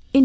verscheen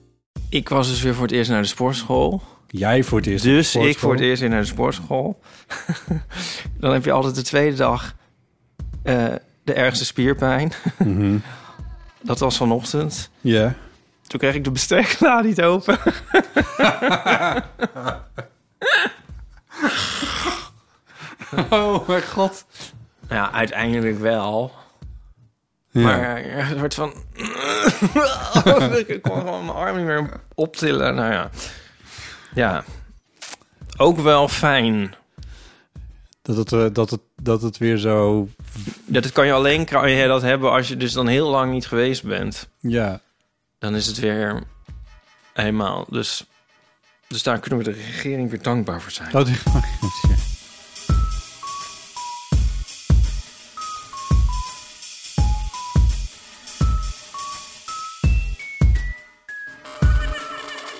Ik was dus weer voor het eerst naar de sportschool. Jij voor het eerst. op de Dus ik sportschool. voor het eerst weer naar de sportschool. Dan heb je altijd de tweede dag eh, de ergste spierpijn. Mhm. Dat was vanochtend. Ja. Toen kreeg ik de bestekla niet open. Oh mijn god. Nou ja, uiteindelijk wel. Ja. Maar eh, het wordt van... ik kon gewoon mijn arm niet meer optillen. Nou ja. Ja. Ook wel fijn. Dat, het, eh, dat, het, dat het weer zo... Dat het kan je alleen kan je dat hebben als je dus dan heel lang niet geweest bent. Ja. Dan is het weer helemaal. Dus, dus daar kunnen we de regering weer dankbaar voor zijn. Dat is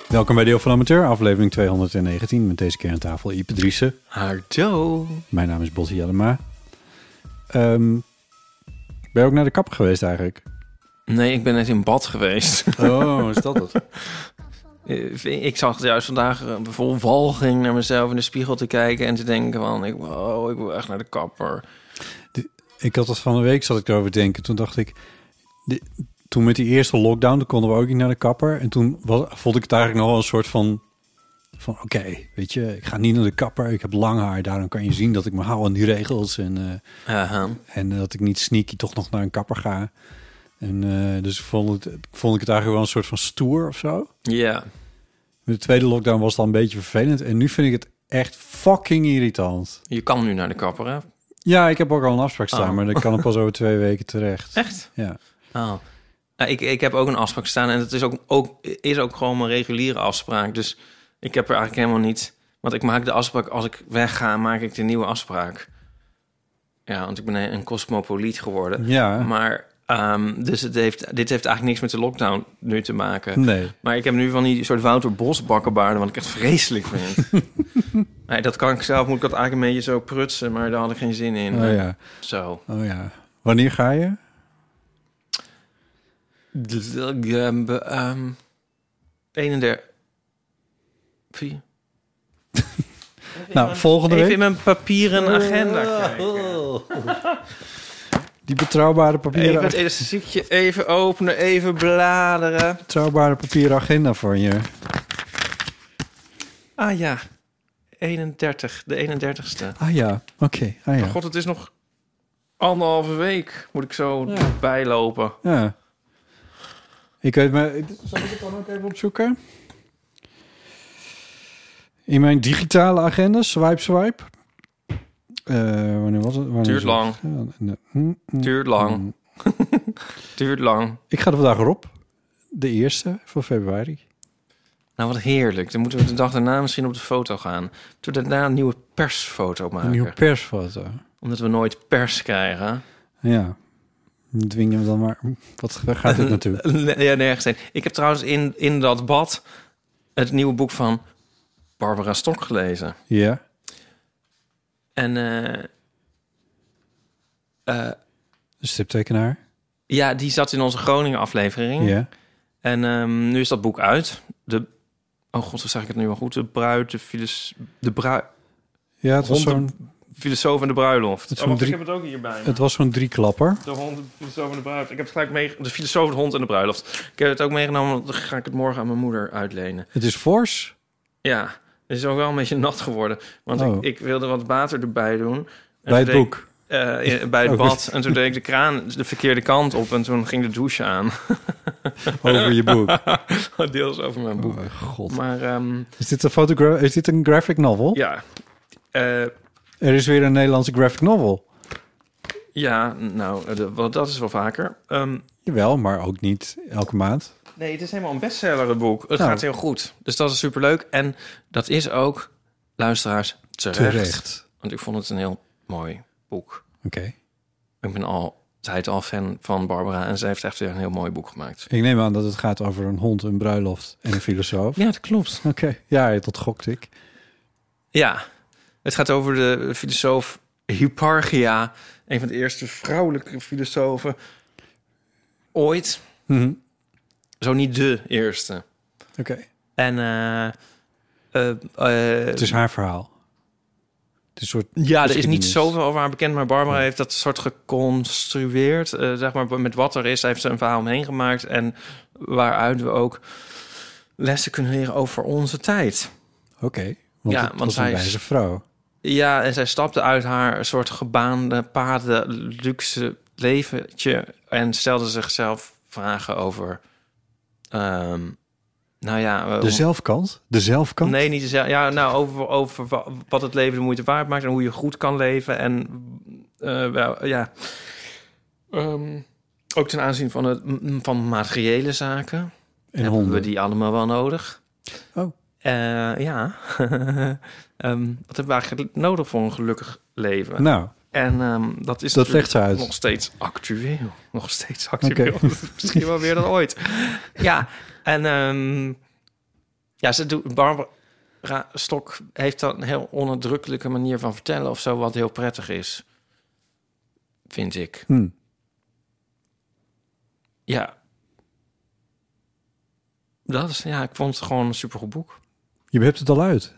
Welkom bij Deel van Amateur, aflevering 219. Met deze keer aan tafel Ipe Driessen. Hardo. Mijn naam is Botti Jellema. Ehm ben je ook naar de kapper geweest eigenlijk? Nee, ik ben net in bad geweest. Oh, is dat het? Eh, ik zag juist vandaag eh, vol walging naar mezelf in de spiegel te kijken en te denken van, ik, wow, ik wil echt naar de kapper. Ik had dat van de week, zat ik erover te denken. Toen dacht ik, di- toen met die eerste lockdown, toen konden we ook niet naar de kapper. En toen was, vond ik het eigenlijk nog wel een soort van, van oké, weet je, ik ga niet naar de kapper. Ik heb lang haar, daarom kan je zien dat ik me hou aan die regels. En, eh, Aha. en dat ik niet sneaky toch nog naar een kapper ga. En eh, dus vond, het, vond ik het eigenlijk wel een soort van stoer of zo. Ja. De tweede lockdown was dan een beetje vervelend. En nu vind ik het echt fucking irritant. Je kan nu naar de kapper, hè? Ja, ik heb ook al een afspraak staan, Oh. maar dan kan ik pas over twee weken terecht. Echt? Ja. Oh. Nou, ik, ik heb ook een afspraak staan en dat is ook, ook, is ook gewoon mijn reguliere afspraak. Dus ik heb er eigenlijk helemaal niet... Want ik maak de afspraak, als ik wegga, maak ik de nieuwe afspraak. Ja, want ik ben een- een cosmopoliet geworden. Ja. Maar, ehm, dus het heeft, dit heeft eigenlijk niks met de lockdown nu te maken. Nee. Maar ik heb nu van die soort Wouter Bos bakkenbaarden, wat ik echt vreselijk vind. nee, dat kan ik zelf, moet ik dat eigenlijk een beetje zo prutsen, maar daar had ik geen zin in. eh, Oh ja. Zo. Oh ja. Wanneer ga je? Ehm, be- ehm, 31. Vier. nou, volgende Even in week. mijn papieren agenda kijken. Die betrouwbare papieren, Even het elastiekje even openen, even bladeren. betrouwbare papieren agenda voor je. Ah ja, 31, de 31ste. Ah ja. Oké. Ah ja. God, het is nog anderhalve week. Moet ik zo bijlopen. Ja. Ik weet maar. Zal ik het dan ook even opzoeken? In mijn digitale agenda, swipe, swipe. Eh, wanneer was het? Wanneer Duurt is het? lang. Ja, nee. Hm, hm, Duurt lang. hm. Duurt lang. Ik ga er vandaag weer op. De eerste van februari. Nou, wat heerlijk. Dan moeten we de dag daarna misschien op de foto gaan. Toen daarna een nieuwe persfoto maken. Een nieuwe persfoto. Omdat we nooit pers krijgen. Ja. Dwing hem dan maar. Wat waar gaat dit naartoe? Nee, Ja, nergens heen. Ik heb trouwens in, in dat bad het nieuwe boek van Barbara Stok gelezen. Ja. En eh, eh, Een striptekenaar. ja, die zat in onze Groningen aflevering. Ja. En ehm, nu is dat boek uit. De, oh god, hoe zeg ik het nu wel goed? De bruid, de files, de bruid. Ja, het was Hond- zo'n filosoof en de bruiloft. Het is Oh, wacht, zo'n ik drie- het ook hierbij. Het was zo'n drieklapper. De hond, de filosoof en de bruiloft. Ik heb het gelijk meegenomen. De filosoof, de hond en de bruiloft. Ik heb het ook meegenomen, want dan ga ik het morgen aan mijn moeder uitlenen. Het is fors. Ja, het is ook wel een beetje nat geworden. Want Oh. ik, ik wilde wat water erbij doen. En bij het toen deed ik- boek. eh, in- bij het Oh, goed. bad. En toen deed ik de kraan de verkeerde kant op. En toen ging de douche aan. Over je boek. Deels over mijn boek. Oh, god. Maar ehm, Is dit, een fotogra- is dit een graphic novel? ja. Eh, Er is weer een Nederlandse graphic novel. ja, nou, eh, de- wel, dat is wel vaker. Ehm, Jawel, maar ook niet elke maand. nee, het is helemaal een bestseller, het boek. Het Nou. gaat heel goed. Dus dat is superleuk. En dat is ook, luisteraars, terecht. Terecht. Want ik vond het een heel mooi boek. Oké. Ik ben altijd al fan van Barbara. En zij heeft echt weer een heel mooi boek gemaakt. Ik neem aan dat het gaat over een hond, een bruiloft en een filosoof. Ja, dat klopt. Oké, ja, dat gokte ik. Ja, het gaat over de filosoof Hipparchia. Een van de eerste vrouwelijke filosofen ooit. Mhm. Zo niet de eerste. Oké, En eh, eh, eh, het is haar verhaal. Het is een soort ja, er is niet geschiedenis. zoveel over haar bekend, maar Barbara heeft dat soort geconstrueerd. eh, zeg maar met wat er is, heeft ze een verhaal omheen gemaakt. En waaruit we ook lessen kunnen leren over onze tijd. Oké, want Ja, het want was een zij is- wijze vrouw. Ja, en zij stapte uit haar soort gebaande paden, luxe leventje en stelde zichzelf vragen over. ehm, nou ja, eh, De zelfkant? De zelfkant? nee, niet dezelfde. Ja, nou over, over wa- wat het leven de moeite waard maakt en hoe je goed kan leven en eh, wel, ja. Ehm, ook ten aanzien van, het, m- van materiële zaken En hebben honden. we die allemaal wel nodig. Oh. Eh, ja. Ehm, wat hebben we eigenlijk nodig voor een gelukkig leven? Nou, En ehm, dat is dat legt natuurlijk ze uit. nog steeds actueel. Nog steeds actueel. Oké. Misschien wel weer dan ooit. ja, en ehm, ja, ze doet, Barbara Stok heeft dan een heel onderdrukkelijke manier van vertellen of zo, wat heel prettig is. Vind ik. Hm. Ja. Dat is, ja, ik vond het gewoon een supergoed boek. Je hebt het al uit.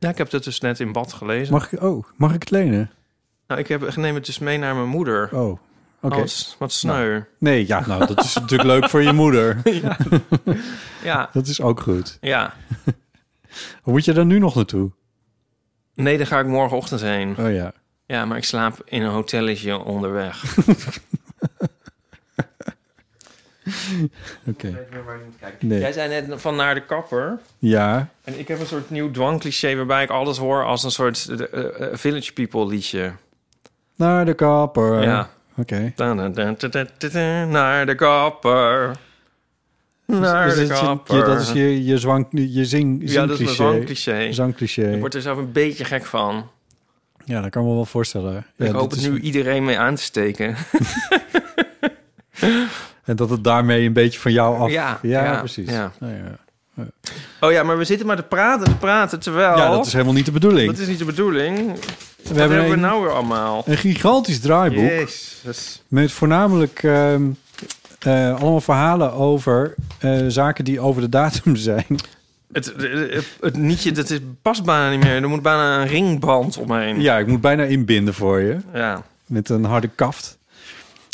Ja, ik heb het dus net in bad gelezen. Mag ik, oh, mag ik het lenen? Nou, ik, heb, ik neem het dus mee naar mijn moeder. Oh, oké. Oh, wat s- wat sneu. Nee, ja, nou, dat is natuurlijk leuk voor je moeder. Ja, Dat is ook goed. ja. Hoe moet je daar nu nog naartoe? Nee, daar ga ik morgenochtend heen. Oh ja. Ja, maar ik slaap in een hotelletje onderweg. Oké. Nee. Jij zei net van naar de kapper. Ja, En ik heb een soort nieuw dwangcliché waarbij ik alles hoor als een soort eh, eh, village people liedje. naar de kapper. Ja. Oké. Da-da-da-da-da-da-da, Naar de kapper. Naar Dus de dat is je- kapper. je- dat is je, je, zwang, je zing, Ja, dat is mijn zingcliché. zangcliché. Zangcliché. Ik word er zelf een beetje gek van. Ja, dat kan ik me wel voorstellen. ik Ja, hoop dit het is- nu iedereen mee aan te steken. En dat het daarmee een beetje van jou af... Ja, ja, ja, precies. ja. Nou ja. Oh ja, maar we zitten maar te praten, te praten, terwijl... Ja, dat is helemaal niet de bedoeling. dat is niet de bedoeling. we Wat hebben we een, nou weer allemaal? een gigantisch draaiboek Jezus. met voornamelijk ehm, eh, allemaal verhalen over eh, zaken die over de datum zijn. Het, het, het- het nietje, dat is, past bijna niet meer. Er moet bijna een ringband omheen. Ja, ik moet bijna inbinden voor je Ja. met een harde kaft.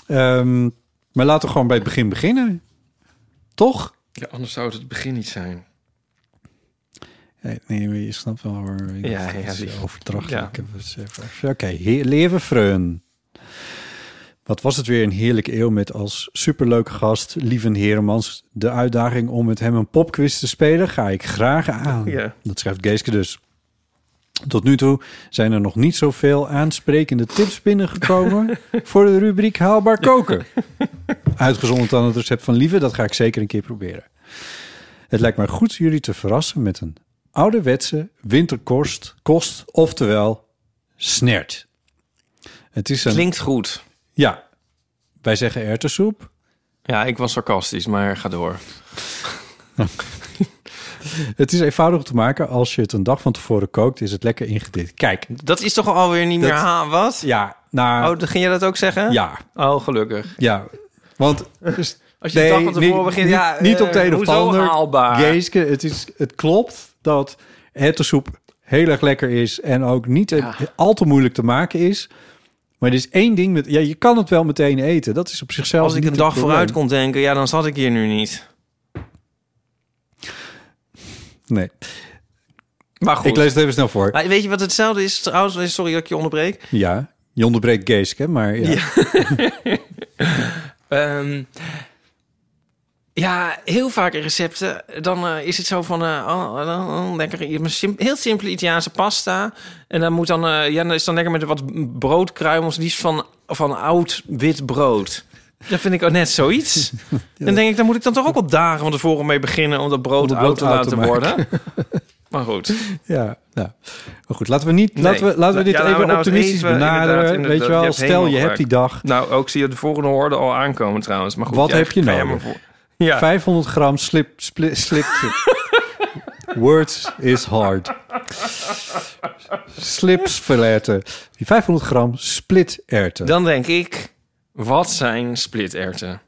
Ehm, maar laten we gewoon bij het begin beginnen. Toch? Ja, anders zou het het begin niet zijn. Nee, nee, maar je snapt wel waar ik Ja, ja, ja, ja, die- ja. overdrachtelijk. Ja. Oké, heer- leven Freun. Wat was het weer een heerlijke eeuw met als superleuke gast Lieven Heremans. De uitdaging om met hem een popquiz te spelen ga ik graag aan. Ja. Dat schrijft Geeske dus. Tot nu toe zijn er nog niet zoveel aansprekende tips binnengekomen voor de rubriek haalbaar koken. Uitgezonderd aan het recept van Lieve, dat ga ik zeker een keer proberen. Het lijkt mij goed jullie te verrassen met een ouderwetse winterkost, kost, oftewel snert. Het is een... Klinkt goed. Ja, wij zeggen erwtensoep. Ja, ik was sarcastisch, maar ga door. Het is eenvoudig te maken. Als je het een dag van tevoren kookt, is het lekker ingedikt. Kijk, Dat is toch alweer niet Dat- meer ha, wat? ja, nou... Oh, dan ging jij dat ook zeggen? ja, Oh, gelukkig. ja. Want... Dus Als je de dag van tevoren niet- begint, niet, ja, niet op eh, de een of hoezo ander. haalbaar? Geeske, het, is, het klopt dat erwtensoep heel erg lekker is en ook niet eh, al te moeilijk te maken is. Maar er is één ding, met, ja, je kan het wel meteen eten. Dat is op zichzelf Als ik niet een dag het probleem. vooruit kon denken, ja, dan zat ik hier nu niet. Nee, Maar goed. ik lees het even snel voor. Maar weet je wat hetzelfde is trouwens? Sorry dat ik je onderbreek. Ja, je onderbreekt Geeske, maar ja. Ehm, ja, heel vaak in recepten, dan eh, is het zo van eh, oh, oh, oh, lekker, een sim- heel simpele Italiaanse pasta. En dan moet dan, eh, ja, dan is dan lekker met wat broodkruimels, liefst van, van oud wit brood. Dat vind ik ook net zoiets. Dan denk ik, dan moet ik dan toch ook wel dagen van tevoren mee beginnen om dat brood, Om het oud brood te oud laten te worden. Maar goed. Ja, nou. Maar goed, laten we, niet, Nee. laten we, laten we Ja, dit laten we even nou het optimistisch even- inderdaad, benaderen. inderdaad, Weet je wel, je hebt stel je helemaal hebt die dag Nou, ook zie je de volgende horde al aankomen trouwens. Maar goed, Wat jij- heb je ga jij nodig? maar voor- Ja. 500 gram slip, spli- slip, Words is hard. Slipsverletten. Die 500 gram splitterten. Dan denk ik, wat zijn splitterten?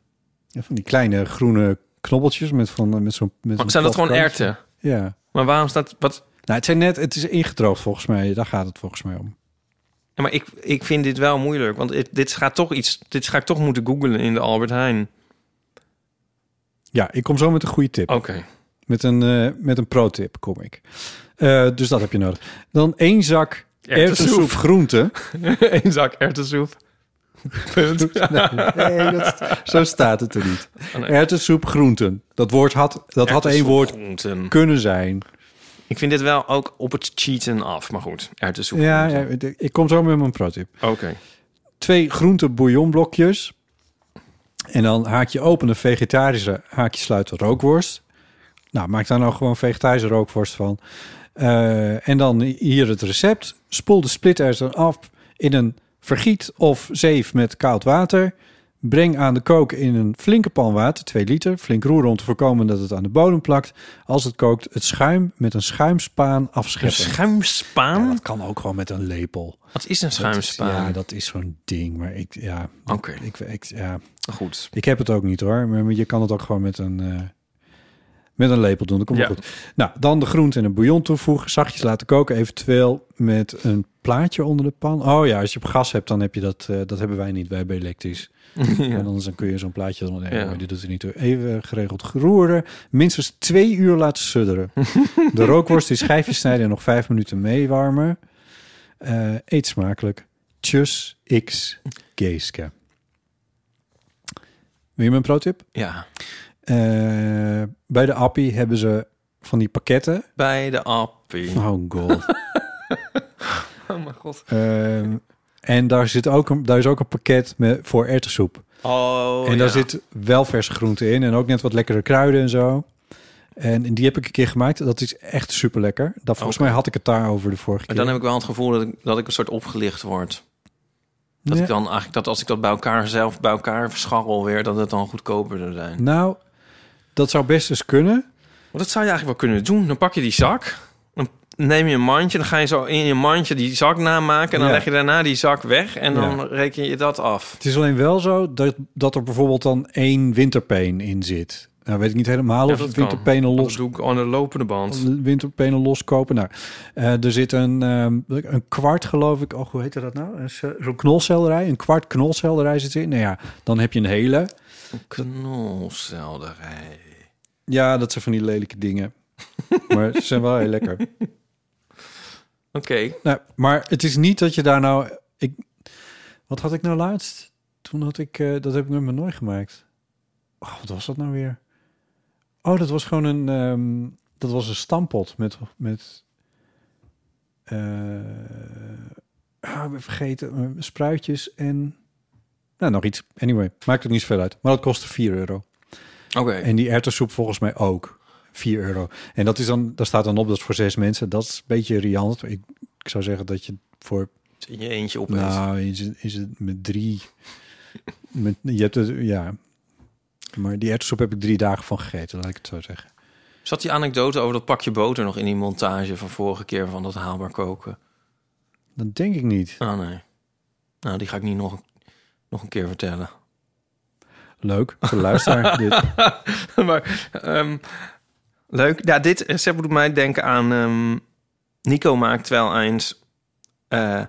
Ja, van die kleine groene knobbeltjes met, van, met zo'n... Met zo'n Maar zijn dat plat gewoon kantje. erten? Ja. Maar waarom staat wat? Nou, het, zijn net, het is ingedroogd volgens mij. Daar gaat het volgens mij om. Ja, maar ik, ik vind dit wel moeilijk, want het- dit gaat toch iets. Dit ga ik toch moeten googlen in de Albert Heijn. Ja, ik kom zo met een goede tip. Oké. Met een, eh, met een pro-tip kom ik. Eh, dus dat heb je nodig. Dan één zak Erwtensoep. erwtensoep groente. Eén zak erwtensoep. Punt. Nee, dat, zo staat het er niet. Erwtensoep groenten. Dat woord had, dat had één Erwtensoep, woord groenten. kunnen zijn. Ik vind dit wel ook op het cheaten af, maar goed. Erwtensoep. Ja, ja, groenten. ik kom zo met mijn pro-tip. Oké. Twee groente bouillonblokjes. En dan haakje open een vegetarische, haakje sluiten rookworst. Nou, maak daar nou gewoon vegetarische rookworst van. Eh, en dan hier het recept. Spoel de splittersen af in een vergiet of zeef met koud water. Breng aan de kook in een flinke pan water, 2 liter. Flink roeren om te voorkomen dat het aan de bodem plakt. Als het kookt, het schuim met een schuimspaan Een afscheppen. schuimspaan? Ja, dat kan ook gewoon met een lepel. Wat is een Dat is- schuimspaan? Ja, dat is zo'n ding. Maar ik, ja, Oké. ik, ik, ja, Goed. ik heb het ook niet hoor. Maar je kan het ook gewoon met een, eh, met een lepel doen. Dat komt wel Ja. goed. Nou, dan de groente en een bouillon toevoegen. Zachtjes laten koken. Eventueel met een plaatje onder de pan. Oh ja, als je op gas hebt, dan heb je dat. eh, dat hebben wij niet. Wij hebben elektrisch. En anders dan kun je zo'n plaatje eronder. Nee, Ja. maar dit doet er niet toe. Even geregeld geroeren. Minstens twee uur laten sudderen. de rookworst in schijfjes snijden en nog vijf minuten meewarmen. Eh, eet smakelijk. Tjus X Geeske. Wil je mijn pro-tip? Ja. Eh, bij de Appie hebben ze van die pakketten. Bij de appie. Oh god. Oh mijn god. Ehm, en daar, zit ook een, daar is ook een pakket met, voor erwtensoep. Oh. en daar ja. zit wel verse groente in en ook net wat lekkere kruiden en zo. En, en die heb ik een keer gemaakt. Dat is echt super lekker. Dat, volgens Oké. mij had ik het daarover de vorige Maar keer. dan heb ik wel het gevoel dat ik, dat ik een soort opgelicht word. Dat Ja. ik dan eigenlijk dat als ik dat bij elkaar zelf bij elkaar verscharrel weer, dat het dan goedkoper zou zijn. Nou, dat zou best eens kunnen. Want dat zou je eigenlijk wel kunnen doen. Dan pak je die zak, dan neem je een mandje, dan ga je zo in je mandje die zak namaken en dan Ja. leg je daarna die zak weg en dan Ja. reken je dat af. Het is alleen wel zo dat, dat er bijvoorbeeld dan één winterpeen in zit. Nou weet ik niet helemaal Ja, of dat het kan. winterpenen Dat los doe ik aan de lopende band. winterpenen loskopen. Nou, eh, er zit een, ehm, een kwart, geloof ik. Oh, hoe heette dat nou? Een ce- Zo'n knolselderij. Een kwart knolselderij zit erin. Nou ja, dan heb je een hele. Knolselderij. Ja, dat zijn van die lelijke dingen. Maar ze zijn wel heel lekker. Oké, Nou, maar het is niet dat je daar nou... Ik, wat had ik nou laatst? Toen had ik... eh, dat heb ik met mijn nooi gemaakt. Oh, wat was dat nou weer? Oh, dat was gewoon een... ehm, dat was een stampot met... met eh, ah, ik ben vergeten. eh, Spruitjes en... Nou, nog iets. Anyway, maakt ook niet zoveel uit. Maar dat kostte 4 euro. oké. En die erwtensoep volgens mij ook. 4 euro. En dat is dan, daar staat dan op dat is voor zes mensen. Dat is een beetje riant. Ik, ik zou zeggen dat je voor. Je eentje op Nou, is het, is het met drie. Met, je hebt het, ja. Maar die erwtensoep heb ik drie dagen van gegeten, laat ik het zo zeggen. Zat die anekdote over dat pakje boter nog in die montage van vorige keer van dat haalbaar koken? Dat denk ik niet. Ah nee. Nou, die ga ik niet nog, nog een keer vertellen. Leuk. Voor de luisteraar. dit. maar ehm, leuk. Ja, dit recept doet mij denken aan ehm, Nico maakt wel eens eh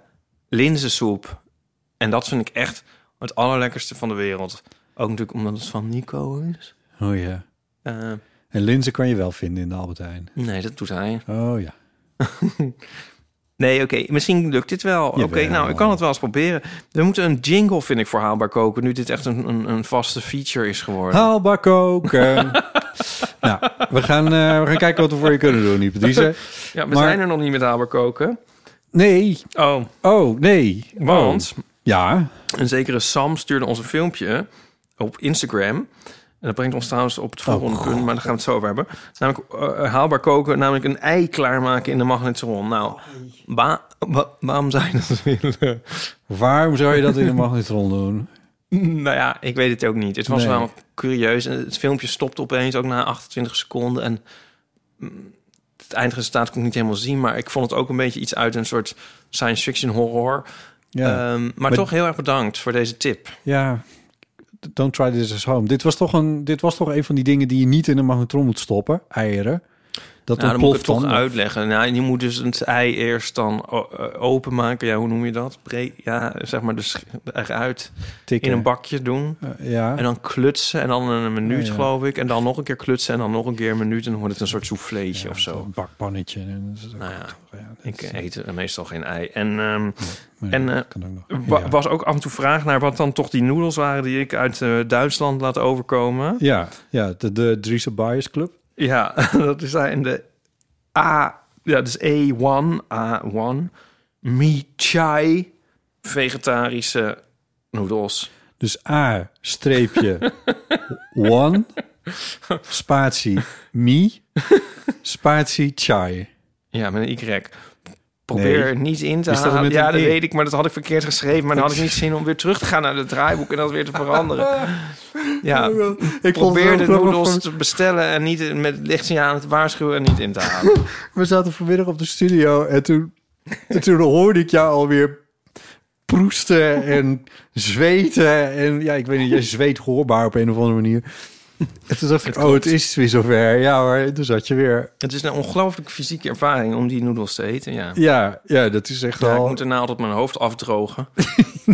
linzensoep. En dat vind ik echt het allerlekkerste van de wereld. Ook natuurlijk omdat het van Nico is. Oh ja. Eh, En linzen kan je wel vinden in de Albert Heijn. nee, dat doet hij. Oh ja. Nee, oké. Misschien lukt dit wel. Oké, Jawel. nou, ik kan het wel eens proberen. We moeten een jingle, vind ik, voor Haalbaar Koken. Nu dit echt een, een, een vaste feature is geworden. Haalbaar koken. nou, we gaan, eh, we gaan kijken wat we voor je kunnen doen, die Patrice. Ja, we maar- zijn er nog niet met Haalbaar Koken. Nee. Oh, Oh, nee. want Ja. een zekere Sam stuurde ons een filmpje op Instagram. En dat brengt ons trouwens op het Oh, volgende punt, maar daar gaan we het zo over hebben. Namelijk eh, haalbaar koken, namelijk een ei klaarmaken in de magnetron. Nou, wa- wa- waarom zou je dat willen? Waarom zou je dat in de magnetron doen? Nou ja, ik weet het ook niet. Het was Nee. wel curieus. En het filmpje stopte opeens ook na 28 seconden. En mm, het eindresultaat kon ik niet helemaal zien. Maar ik vond het ook een beetje iets uit een soort science fiction horror. Ja. Ehm, maar, toch heel erg bedankt voor deze tip. Eh, Ja, don't try this at home. Dit was toch een, dit was toch een van die dingen die je niet in een magnetron moet stoppen, eieren. Dat Nou, dan moet ik ontploft het toch dan. uitleggen. Nou, je moet dus het ei eerst dan o- eh, openmaken. Ja, hoe noem je dat? Bre ja, zeg maar dus eruit Tikken. in een bakje doen. Eh, ja. En dan klutsen en dan een minuut, Ja, ja. geloof ik. En dan nog een keer klutsen en dan nog een keer een minuut. En dan wordt het een soort souffleetje of zo. Een bakpannetje. En dat is ook Nou ja, goed, ja, dat Ik is- eet eh, meestal geen ei. En ehm, maar en, ja, eh, dat kan ook nog. wa- Ja. was ook af en toe vraag naar wat dan toch die noedels waren die ik uit eh, Duitsland laat overkomen. Ja, ja, de, de Driese Bias Club. Ja, dat is daar in de A. Ja, dat is A1. A1. Mi Chai. Vegetarische noedels. Dus A streepje one spatie mi spatie chai. Ja, met een Y. Probeer Nee. er niet in te Is dat halen. met Ja, een dat E? weet ik, maar dat had ik verkeerd geschreven. Maar dan had ik niet zin om weer terug te gaan naar het draaiboek en dat weer te veranderen. Ja, Ik probeer de noedels te bestellen en niet met lichtsignalen te waarschuwen en niet in te halen. We zaten vanmiddag op de studio en toen, en toen hoorde ik jou alweer proesten en zweten. En ja, ik weet niet, jij zweet hoorbaar op een of andere manier. En toen dacht ik, oh, het is weer zover. Ja hoor, en toen zat je weer. Het is een ongelooflijke fysieke ervaring om die noedels te eten. Ja. Ja, ja dat is echt Ja, ik wel... moet de naald op mijn hoofd afdrogen.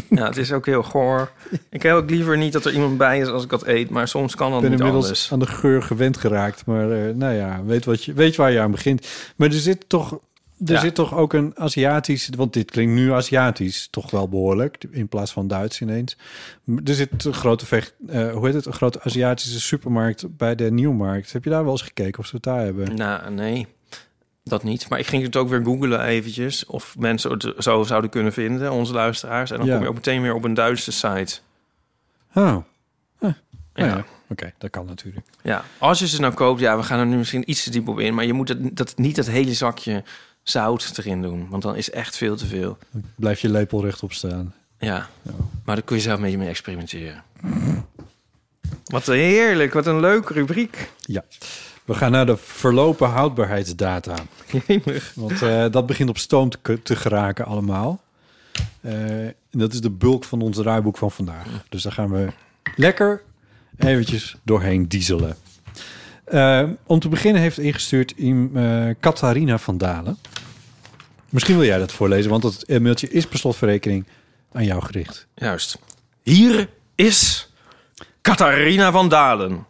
ja, het is ook heel goor. Ik heb ook liever niet dat er iemand bij is als ik dat eet, maar soms kan dat Ik ben niet inmiddels anders. aan de geur gewend geraakt. Maar eh, nou ja, weet, wat je, weet waar je aan begint. Maar er zit toch, er Ja. zit toch ook een Aziatisch... Want dit klinkt nu Aziatisch toch wel behoorlijk. In plaats van Duits ineens. Maar Er zit een grote, vecht, eh, hoe heet het, een grote Aziatische supermarkt bij de Nieuwmarkt. Heb je daar wel eens gekeken of ze het daar hebben? Nou, nee, dat niet. Maar ik ging het ook weer googlen eventjes of mensen het zo zouden kunnen vinden, onze luisteraars. En dan Ja. kom je ook meteen weer op een Duitse site. Oh, nou Oh ja. Ja. Oké, dat kan natuurlijk. Ja, als je ze nou koopt, ja, we gaan er nu misschien iets te diep op in, maar je moet het, dat, niet dat hele zakje zout erin doen, want dan is echt veel te veel. Blijf je lepel rechtop staan. Ja, maar daar kun je zelf een beetje mee experimenteren. Wat heerlijk, wat een leuke rubriek. Ja. We gaan naar de verlopen houdbaarheidsdata. Jemig. Want eh, dat begint op stoom te, k- te geraken allemaal. Eh, en dat is de bulk van ons draaiboek van vandaag. Dus daar gaan we lekker eventjes doorheen dieselen. Eh, om te beginnen heeft ingestuurd in, eh, Catharina van Dalen. Misschien wil jij dat voorlezen, want dat eh, mailtje is per slotverrekening aan jou gericht. Juist. Hier is Catharina van Dalen.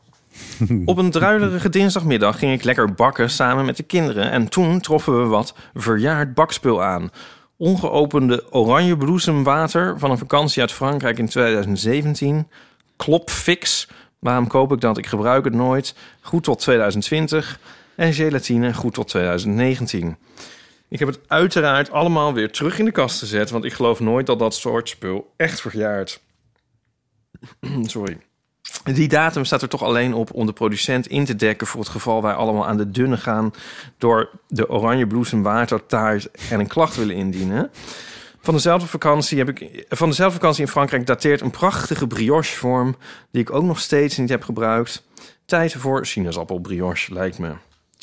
Op een druilerige dinsdagmiddag ging ik lekker bakken samen met de kinderen. En toen troffen we wat verjaard bakspul aan. Ongeopende oranje bloesemwater van een vakantie uit Frankrijk in 2017. Klopfix. Waarom koop ik dat? Ik gebruik het nooit. Goed tot 2020. En gelatine goed tot 2019. Ik heb het uiteraard allemaal weer terug in de kast gezet, want ik geloof nooit dat dat soort spul echt verjaart. Sorry. Die datum staat er toch alleen op om de producent in te dekken voor het geval wij allemaal aan de dunne gaan door de oranje bloesemwatertaart en een klacht willen indienen. Van dezelfde, vakantie heb ik, van dezelfde vakantie in Frankrijk dateert een prachtige brioche-vorm die ik ook nog steeds niet heb gebruikt. Tijd voor sinaasappelbrioche lijkt me.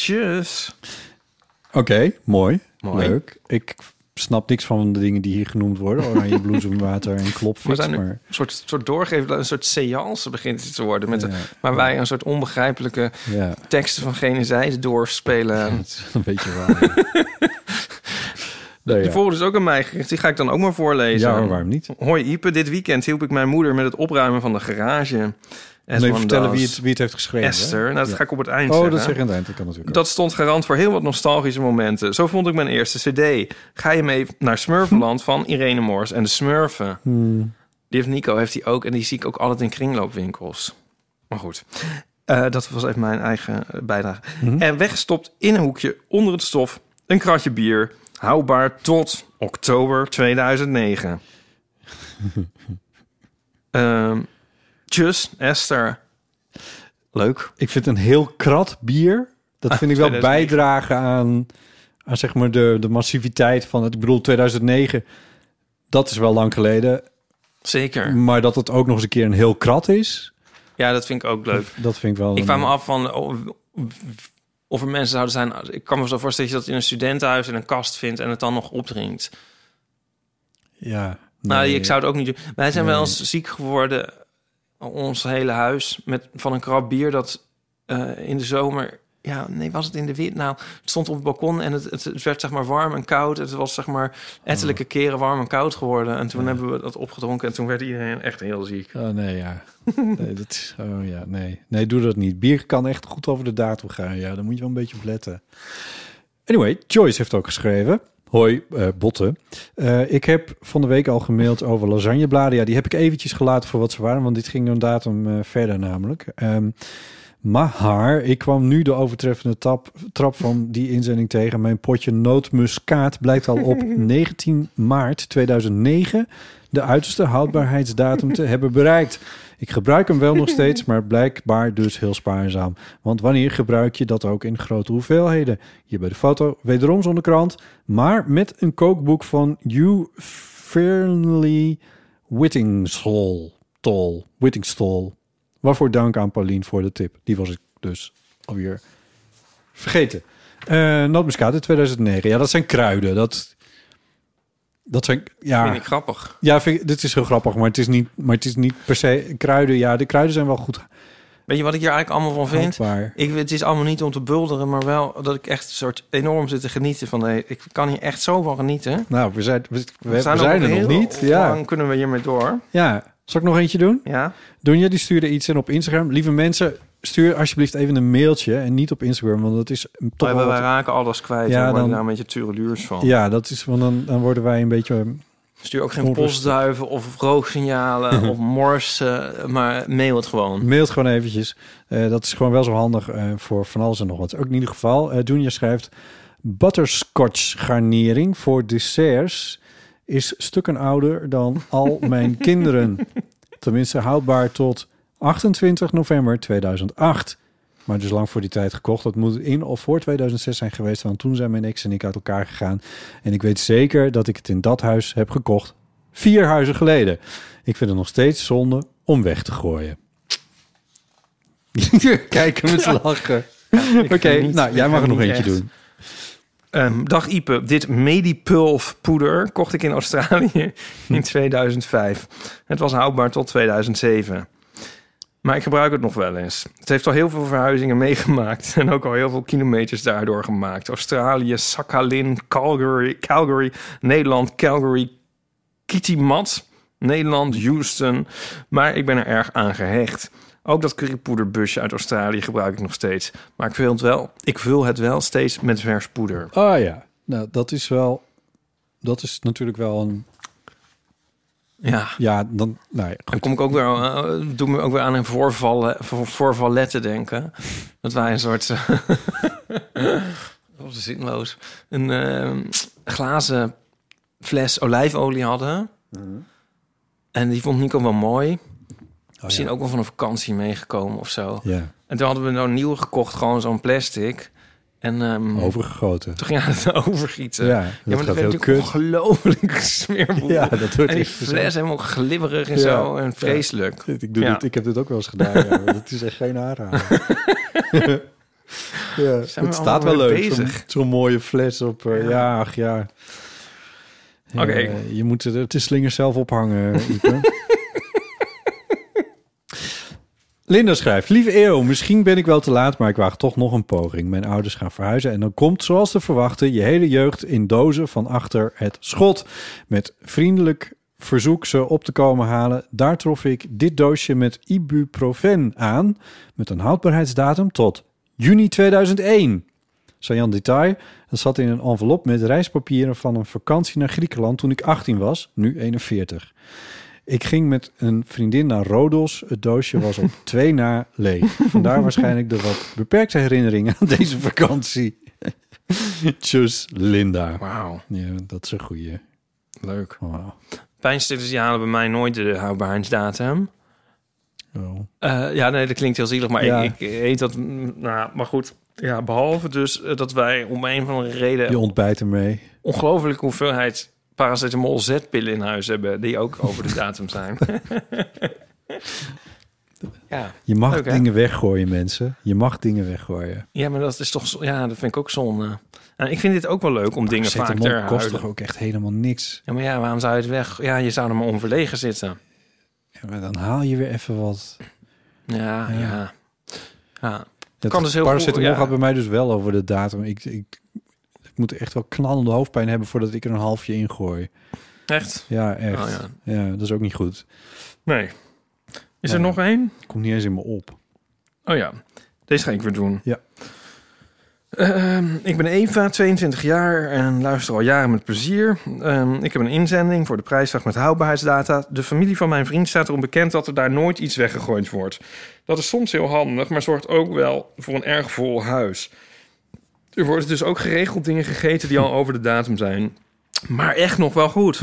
Tjus! Oké, mooi, Mooi. Leuk. Ik snap niks van de dingen die hier genoemd worden. Oranje bloesemwater en We klopfits. zijn nu Maar... een soort, soort doorgeven, een soort seance begint het te worden. Met Ja. waar wij een soort onbegrijpelijke Ja, teksten van gene zijde doorspelen. dat is een beetje waar. Nou ja. Die volgende is ook aan mij gericht. Die ga ik dan ook maar voorlezen. Ja, hoor, waarom niet? Hoi Ipe, dit weekend hielp ik mijn moeder met het opruimen van de garage. As Nee, one vertellen wie does. het, wie het heeft geschreven. hè? Esther. Nou, dat Ja. ga ik op het eind Oh, zeggen. dat zeg je aan het eind. Dat kan natuurlijk Dat stond garant voor heel wat nostalgische momenten. Zo vond ik mijn eerste cd. Ga je mee naar Smurfenland van Irene Moors en de Smurfen. Die heeft Nico, heeft die ook. En die zie ik ook altijd in kringloopwinkels. Maar goed, Eh, dat was even mijn eigen eh, bijdrage. En weggestopt in een hoekje onder het stof. Een kratje bier. Houdbaar tot oktober 2009. Ehm tjus, Esther. Leuk. Ik vind een heel krat bier. Ah, Dat vind ik wel 2009. bijdragen aan, aan zeg maar de, de massiviteit van het. Ik bedoel, 2009, dat is wel lang geleden. Zeker. Maar dat het ook nog eens een keer een heel krat is, Ja, dat vind ik ook leuk. dat vind ik wel. Ik een- vraag me af van of, of er mensen zouden zijn. Ik kan me zo voorstellen dat je dat in een studentenhuis in een kast vindt en het dan nog opdrinkt. Ja. Nou, nee. ik zou het ook niet doen. Wij zijn wel eens ziek geworden, ons hele huis, met, van een krab bier dat eh, in de zomer. Ja, nee, was het in de wit? Nou, het stond op het balkon en het, het, het werd zeg maar warm en koud. Het was zeg maar ettelijke keren warm en koud geworden. En toen hebben we dat opgedronken en toen werd iedereen echt heel ziek. Oh, nee, ja. Nee, dat is, oh ja, nee. Nee, doe dat niet. Bier kan echt goed over de datum gaan. Ja, daar moet je wel een beetje op letten. Anyway, Joyce heeft ook geschreven. Hoi, eh, Botten. Eh, ik heb van de week al gemaild over lasagnebladen. Ja, die heb ik eventjes gelaten voor wat ze waren, want dit ging een datum eh, verder namelijk. Ehm, maar ik kwam nu de overtreffende tap, trap van die inzending tegen. Mijn potje nootmuskaat blijkt al op 19 maart 2009 de uiterste houdbaarheidsdatum te hebben bereikt. Ik gebruik hem wel nog steeds, maar blijkbaar dus heel spaarzaam. Want wanneer gebruik je dat ook in grote hoeveelheden? Hier bij de foto, wederom zonder krant, maar met een kookboek van Hugh Fernley Whittingstall. Tol, Whittingstall. Waarvoor dank aan Paulien voor de tip. Die was ik dus alweer vergeten. Eh Nootmuskaat uit 2009. Ja, dat zijn kruiden. Dat, dat zijn... Ja. Vind ik grappig. Ja, vind ik- dit is heel grappig, maar het is niet, maar het is niet per se kruiden. Ja, de kruiden zijn wel goed Weet je wat ik hier eigenlijk allemaal van vind? houdbaar. Ik, het is allemaal niet om te bulderen, maar wel dat ik echt een soort enorm zit te genieten van de. Ik kan hier echt zo van genieten. Nou, we zijn, we, we- we staan zijn, er nog heel niet. Ja. lang kunnen we hiermee door. ja, zal ik nog eentje doen? Ja. Donja die stuurde iets in op Instagram. Lieve mensen, stuur alsjeblieft even een mailtje en niet op Instagram, want dat is toch Wij, wel wij wat- raken alles kwijt. Ja, Ja, dan word dan- je daar nou een beetje tureluurs van. Ja, dat is, want dan, dan worden wij een beetje... eh, Stuur ook geen Onrustig. postduiven of rooksignalen of morsen, maar mail het gewoon. Mailt gewoon eventjes. Eh, dat is gewoon wel zo handig eh, voor van alles en nog wat. Ook in ieder geval, eh Doenja schrijft... Butterscotch garnering voor desserts is stukken ouder dan al mijn kinderen. Tenminste houdbaar tot 28 november 2008. Maar dus lang voor die tijd gekocht. Dat moet in of voor 2006 zijn geweest. Want toen zijn mijn ex en ik uit elkaar gegaan. En ik weet zeker dat ik het in dat huis heb gekocht. Vier huizen geleden. Ik vind het nog steeds zonde om weg te gooien. Kijken met lachen. Oké, niet- nou ik jij mag er geniet nog eentje echt. doen. Ehm, dag Ipe, dit Medipulf poeder kocht ik in Australië in 2005. Het was houdbaar tot 2007. Maar ik gebruik het nog wel eens. Het heeft al heel veel verhuizingen meegemaakt en ook al heel veel kilometers daardoor gemaakt. Australië, Sakhalin, Calgary, Calgary Nederland, Calgary, Kitimat, Nederland, Houston. Maar ik ben er erg aan gehecht. Ook dat currypoederbusje uit Australië gebruik ik nog steeds. Maar ik vul het wel, ik vul het wel steeds met vers poeder. Ah ja, nou dat is wel... Dat is natuurlijk wel een... Ja. Ja, dan... Nou ja, Dan kom ik ook weer, eh, doe me ook weer aan een voorvallen, voor, voorvalletten denken. Dat wij een soort. eh, Wat is zinloos. Een eh, glazen fles olijfolie hadden. Mhm. En die vond Nico wel Oh, mooi. Misschien ook wel van een vakantie meegekomen of zo. ja, En toen hadden we nou een nieuwe gekocht, gewoon zo'n plastic. En ehm, overgegoten. toen ging hij het overgieten. Ja, dat maar gaat werd heel natuurlijk kut. ongelooflijk smeerboel. Ja, dat wordt en die echt zo. fles helemaal glibberig en Ja, zo. En ja. vreselijk. Ik, doe Ja. dit, ik heb dit ook wel eens gedaan. Ja, maar dat is echt geen aanrader. ja, Zijn we het staat wel allemaal mee leuk. Zo'n bezig? zo'n mooie fles op. eh, ja, ach ja. Ja, Oké. Eh, je moet de, de slingers zelf ophangen. Ipe. Linda schrijft, lieve Eeuw, misschien ben ik wel te laat, maar ik waag toch nog een poging. Mijn ouders gaan verhuizen en dan komt, zoals te verwachten, je hele jeugd in dozen van achter het schot. Met vriendelijk verzoek ze op te komen halen. Daar trof ik dit doosje met ibuprofen aan, met een houdbaarheidsdatum tot juni 2001. Sajan Detail, dat zat in een envelop met reispapieren van een vakantie naar Griekenland toen ik 18 was, nu 41. Ik ging met een vriendin naar Rodos. Het doosje was op twee na leeg. Vandaar waarschijnlijk de wat beperkte herinneringen aan deze vakantie. Tjus, Linda. Wauw, Ja, dat is een goeie. Oh, leuk. Wauw. Pijnstillers die halen bij mij nooit de houdbaarheidsdatum. Oh. Eh, ja, nee, dat klinkt heel zielig, maar Ja. ik, ik eet dat... mm, Nou, maar goed, ja, behalve dus eh, dat wij om een van de reden... Je ontbijt ermee. ongelooflijke hoeveelheid paracetamol zetpillen in huis hebben... die ook over de datum zijn. ja. Je mag Leuk, hè? dingen weggooien, mensen. Je mag dingen weggooien. ja, maar dat is toch... zo- Ja, dat vind ik ook zonde. En ik vind dit ook wel leuk om dingen vaak te Paracetamol kost toch herhouden. ook echt helemaal niks. Ja, maar ja, waarom zou je het weg... Ja, je zou er maar onverlegen zitten. Ja, maar dan haal je weer even wat. Ja, Ja. ja. ja. Dat Kan dus heel paracetamol goed, ja. gaat bij mij dus wel over de datum. Ik, ik, ik moet echt wel knallende hoofdpijn hebben voordat ik er een halfje in gooi. Echt? Ja, echt. Oh, ja. dat is ook niet goed. Nee. Is Nee. er nog één? Komt niet eens in me op. Oh ja, deze ga ik weer doen. Ja. Ehm, ik ben Eva, 22 jaar en luister al jaren met plezier. Ehm, ik heb een inzending voor de prijsvraag met houdbaarheidsdata. De familie van mijn vriend staat erom bekend dat er daar nooit iets weggegooid wordt. Dat is soms heel handig, maar zorgt ook wel voor een erg vol huis. Er worden dus ook geregeld dingen gegeten die al over de datum zijn. Maar echt nog wel goed.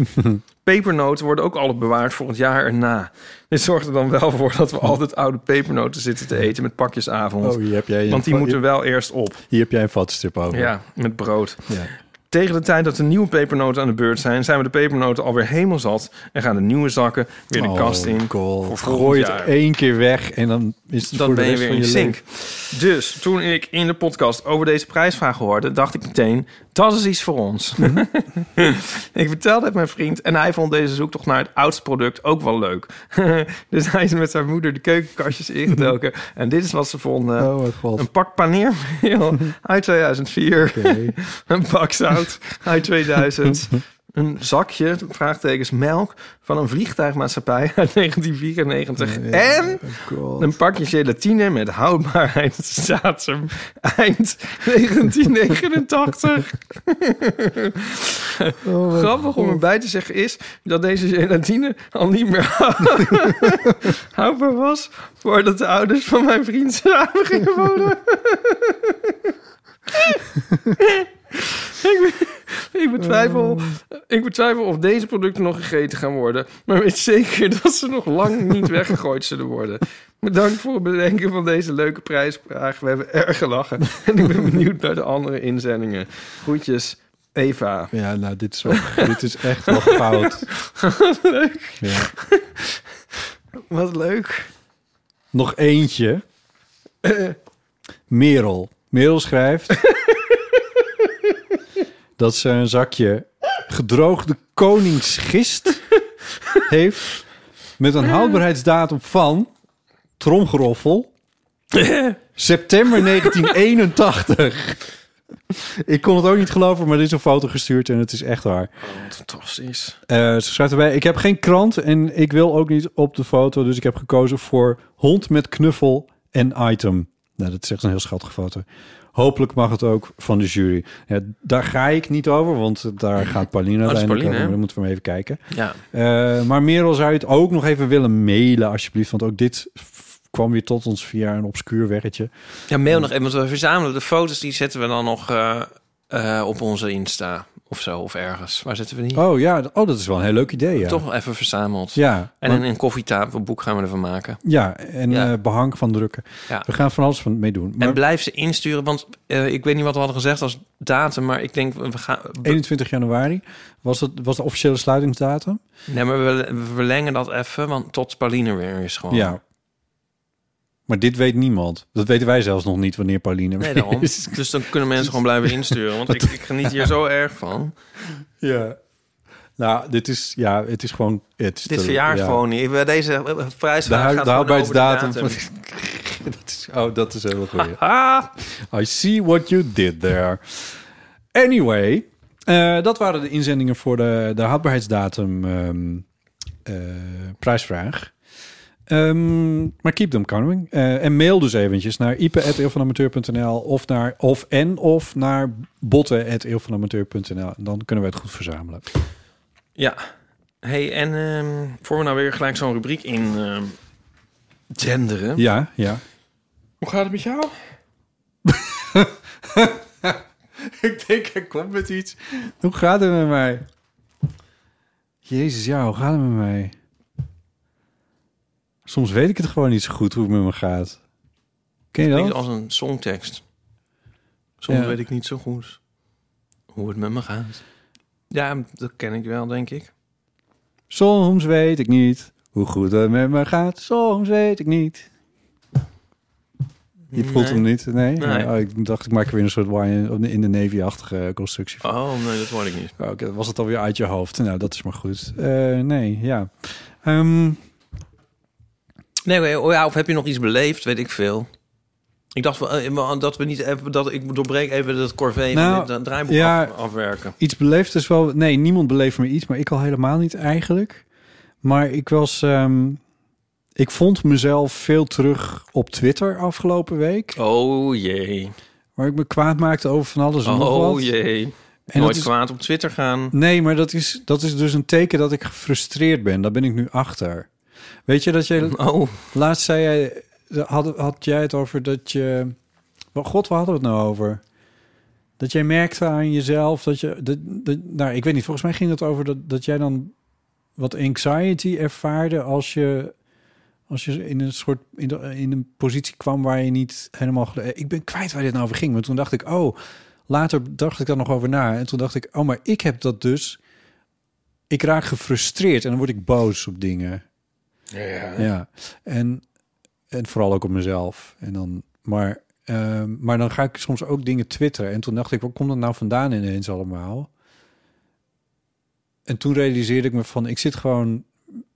Pepernoten worden ook alle bewaard voor het jaar erna. Dit zorgt er dan wel voor dat we altijd oude pepernoten zitten te eten met pakjesavond. Oh, hier heb jij een, Want die fa- moeten wel eerst op. hier heb jij een vatstrip over. Ja, met brood. Ja. Tegen de tijd dat de nieuwe pepernoten aan de beurt zijn, zijn we de pepernoten alweer helemaal zat en gaan de nieuwe zakken weer de Oh, kast in. cool. voor volgend Gooi het jaar. één keer weg en dan is het Dan voor de ben je rest weer in van de je zink. Dus toen ik in de podcast over deze prijsvraag hoorde, dacht ik meteen: dat is iets voor ons. Mhm. ik vertelde het mijn vriend en hij vond deze zoektocht naar het oudste product ook wel leuk. dus hij is met zijn moeder de keukenkastjes ingedoken en dit is wat ze vonden: leven. Oh mijn god. een pak paneermeel uit 2004. Oké. Een bak zout uit 2000. Een zakje, vraagtekens, melk van een vliegtuigmaatschappij uit 1994. En Oh, God. een pakje gelatine met houdbaarheidsdatum eind 1989. Oh, mijn Grappig om erbij te zeggen is dat deze gelatine al niet meer houdbaar was... voordat de ouders van mijn vriend samen gingen wonen. ik, be- ik, Eh. betwijfel, eh, ik betwijfel of deze producten nog gegeten gaan worden... maar weet zeker dat ze nog lang niet weggegooid zullen worden. Bedankt voor het bedenken van deze leuke prijsvraag. We hebben erg gelachen en ik ben benieuwd naar de andere inzendingen. Groetjes, Eva. Ja, nou, dit is, wel, dit is echt wel fout. Leuk. Ja. Wat leuk. Nog eentje. Merel. Merel schrijft dat ze een zakje gedroogde koningsgist heeft met een houdbaarheidsdatum van tromgeroffel september 1981. Ik kon het ook niet geloven, maar er is een foto gestuurd en het is echt waar. Fantastisch. Eh, ze schrijft erbij, ik heb geen krant en ik wil ook niet op de foto. Dus ik heb gekozen voor hond met knuffel en item. Nou, dat is echt een heel schattige foto. Hopelijk mag het ook van de jury. Ja, daar ga ik niet over, want daar gaat Paulina Oh, is uiteindelijk Paulina, over. hè? Dan moeten we maar even kijken. Ja. Eh, maar Merel zou je het ook nog even willen mailen, alsjeblieft. Want ook dit f- kwam weer tot ons via een obscuur weggetje. ja, mail nog even. want We verzamelen de foto's, die zetten we dan nog eh, eh, op onze Insta of zo, of ergens. Waar zetten we die? Oh ja, d- oh, dat is wel een heel leuk idee. Ja. Toch wel even verzameld. Ja, En want- een, een koffietafelboek gaan we ervan maken. ja, en Ja. eh, behang van drukken. Ja. We gaan van alles van mee doen. Maar En blijf ze insturen, want eh, ik weet niet wat we hadden gezegd als datum, maar ik denk, we gaan... we- 21 januari was, het, was de officiële sluitingsdatum. nee, maar we, we verlengen dat even, want tot Pauline weer is gewoon. Ja. Maar dit weet niemand. Dat weten wij zelfs nog niet wanneer Nee, Pauline weer daarom. is. Dus dan kunnen mensen gewoon blijven insturen, want ik, ik geniet hier zo erg van. Ja. Nou, dit is, ja, het is gewoon... Het is Dit te- verjaart ja. gewoon niet. Bij deze eh, prijs De, hu- gaat de gewoon over de houdbaarheidsdatum. datum. van- dat is, oh, dat is heel goed. Ah, I see what you did there. Anyway, eh, dat waren de inzendingen voor de, de houdbaarheidsdatum ehm, eh, prijsvraag. Ehm, maar keep them coming. Eh, en mail dus eventjes naar ipe.eeuwvanamateur.nl of naar of en of naar botten.eeuwvanamateur.nl. Dan kunnen we het goed verzamelen. ja. hey, en ehm, voor we nou weer gelijk zo'n rubriek in ehm genderen. Ja, ja. Hoe gaat het met jou? Ik denk, hij komt met iets. Hoe gaat het met mij? Jezus, ja, hoe gaat het met mij? Soms weet ik het gewoon niet zo goed hoe het met me gaat. Ken je Klinkt dat? als een songtekst. Soms Ja. weet ik niet zo goed hoe het met me gaat. Ja, dat ken ik wel, denk ik. Soms weet ik niet hoe goed het met me gaat. Soms weet ik niet. Je voelt Nee. hem niet? Nee? Nee. Oh, ik dacht, ik maak er weer een soort Wine in de Navy-achtige constructie van. Oh, nee, dat hoor ik niet. Oké, was het alweer uit je hoofd? Nou, dat is maar goed. Eh, nee, ja. Ehm, Nee, nee, oh ja, of heb je nog iets beleefd? Weet ik veel. Ik dacht wel, eh, maar dat we niet even, dat ik doorbreek even dat corvée Nou, van dit eh, draaiboek ja. af- afwerken. iets beleefd is wel... Nee, niemand beleeft me iets, maar ik al helemaal niet eigenlijk. Maar ik was... ehm, ik vond mezelf veel terug op Twitter afgelopen week. Oh jee. Waar ik me kwaad maakte over van alles en nog wat. Oh jee. En dat Nooit is- kwaad op Twitter gaan. Nee, maar dat is, dat is dus een teken dat ik gefrustreerd ben. Daar ben ik nu achter. Weet je dat je... Oh, Laatst zei jij... Had, had jij het over dat je... Wel, God, waar hadden we het nou over? Dat jij merkte aan jezelf dat je... Dat, dat- nou, ik weet niet. Volgens mij ging het over dat, dat jij dan wat anxiety ervaarde als je... Als je in een soort in, de- in een positie kwam waar je niet helemaal. gel- Ik ben kwijt waar dit nou over ging. Maar toen dacht ik, oh, later dacht ik daar nog over na. En toen dacht ik, oh, maar ik heb dat dus. Ik raak gefrustreerd en dan word ik boos op dingen. Ja. En, en vooral ook op mezelf. En dan, maar, ehm, maar dan ga ik soms ook dingen twitteren. En toen dacht ik, waar komt dat nou vandaan ineens allemaal? En toen realiseerde ik me van, ik zit gewoon...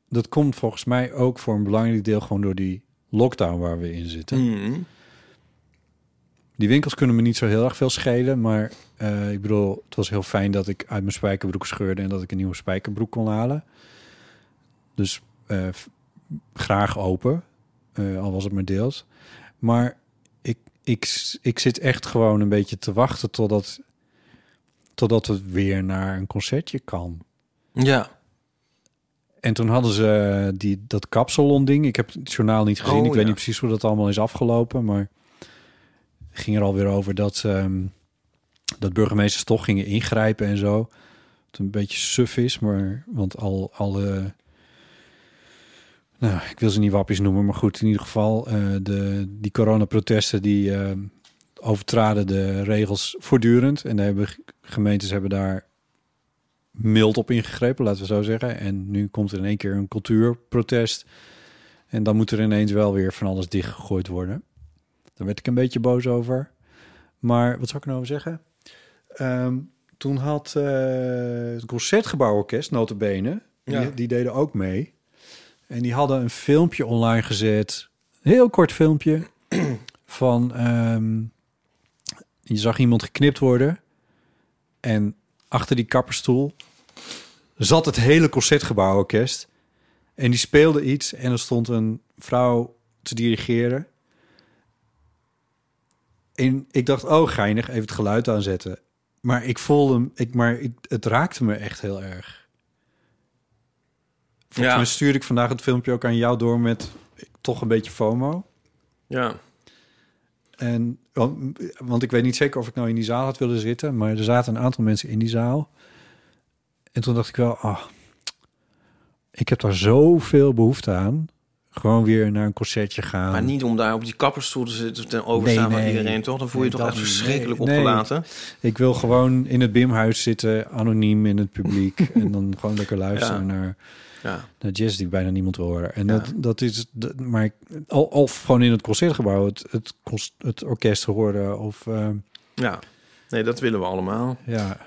Dat komt volgens mij ook voor een belangrijk deel gewoon door die lockdown waar we in zitten. Hmm. Die winkels kunnen me niet zo heel erg veel schelen. Maar eh, ik bedoel, het was heel fijn dat ik uit mijn spijkerbroek scheurde en dat ik een nieuwe spijkerbroek kon halen. Dus eh, f- graag open, eh, al was het maar deels. Maar ik, ik, s- ik zit echt gewoon een beetje te wachten totdat, totdat het weer naar een concertje kan. Ja. En toen hadden ze eh, die, dat kapsalon-ding. Ik heb het journaal niet gezien. Oh, ik weet ja. niet precies hoe dat allemaal is afgelopen. Maar het ging er alweer over dat, ehm, dat burgemeesters toch gingen ingrijpen en zo. Het een beetje suf is, maar want al alle. Nou, ik wil ze niet wappies noemen, maar goed, in ieder geval, eh, de, die coronaprotesten die ehm, overtraden de regels voortdurend. En daar hebben g- gemeentes hebben daar mild op ingegrepen, laten we zo zeggen. En nu komt er in één keer een cultuurprotest. En dan moet er ineens wel weer van alles dichtgegooid worden. Daar werd ik een beetje boos over. Maar wat zou ik nou over zeggen? Ehm, toen had eh, het Concertgebouworkest, notabene, Ja. die, die deden ook mee. En die hadden een filmpje online gezet. Een heel kort filmpje. van, ehm, je zag iemand geknipt worden. En achter die kapperstoel zat het hele Concertgebouworkest. En die speelde iets en er stond een vrouw te dirigeren. En ik dacht, oh geinig, even het geluid aanzetten. Maar ik voelde hem, ik, maar ik- het raakte me echt heel erg. Volgens Ja. mij stuurde ik vandaag het filmpje ook aan jou door met eh, toch een beetje FOMO. Ja. En, want, want ik weet niet zeker of ik nou in die zaal had willen zitten, maar er zaten een aantal mensen in die zaal. En toen dacht ik wel, ah, ik heb daar zoveel behoefte aan. Gewoon weer naar een concertje gaan. Maar niet om daar op die kappersstoel te zitten ten overstaan Nee, van nee. iedereen, toch? Dan voel je Nee, je toch dat echt niet. verschrikkelijk Nee, nee. opgelaten. Ik wil gewoon in het Bimhuis zitten, anoniem in het publiek. en dan gewoon lekker luisteren Ja. naar, Ja. naar jazz die bijna niemand wil horen. En Ja. dat, dat is, dat, maar ik- al- of gewoon in het concertgebouw het, het, cons- het orkest horen. Of, eh, ja. Nee, dat willen we allemaal. ja.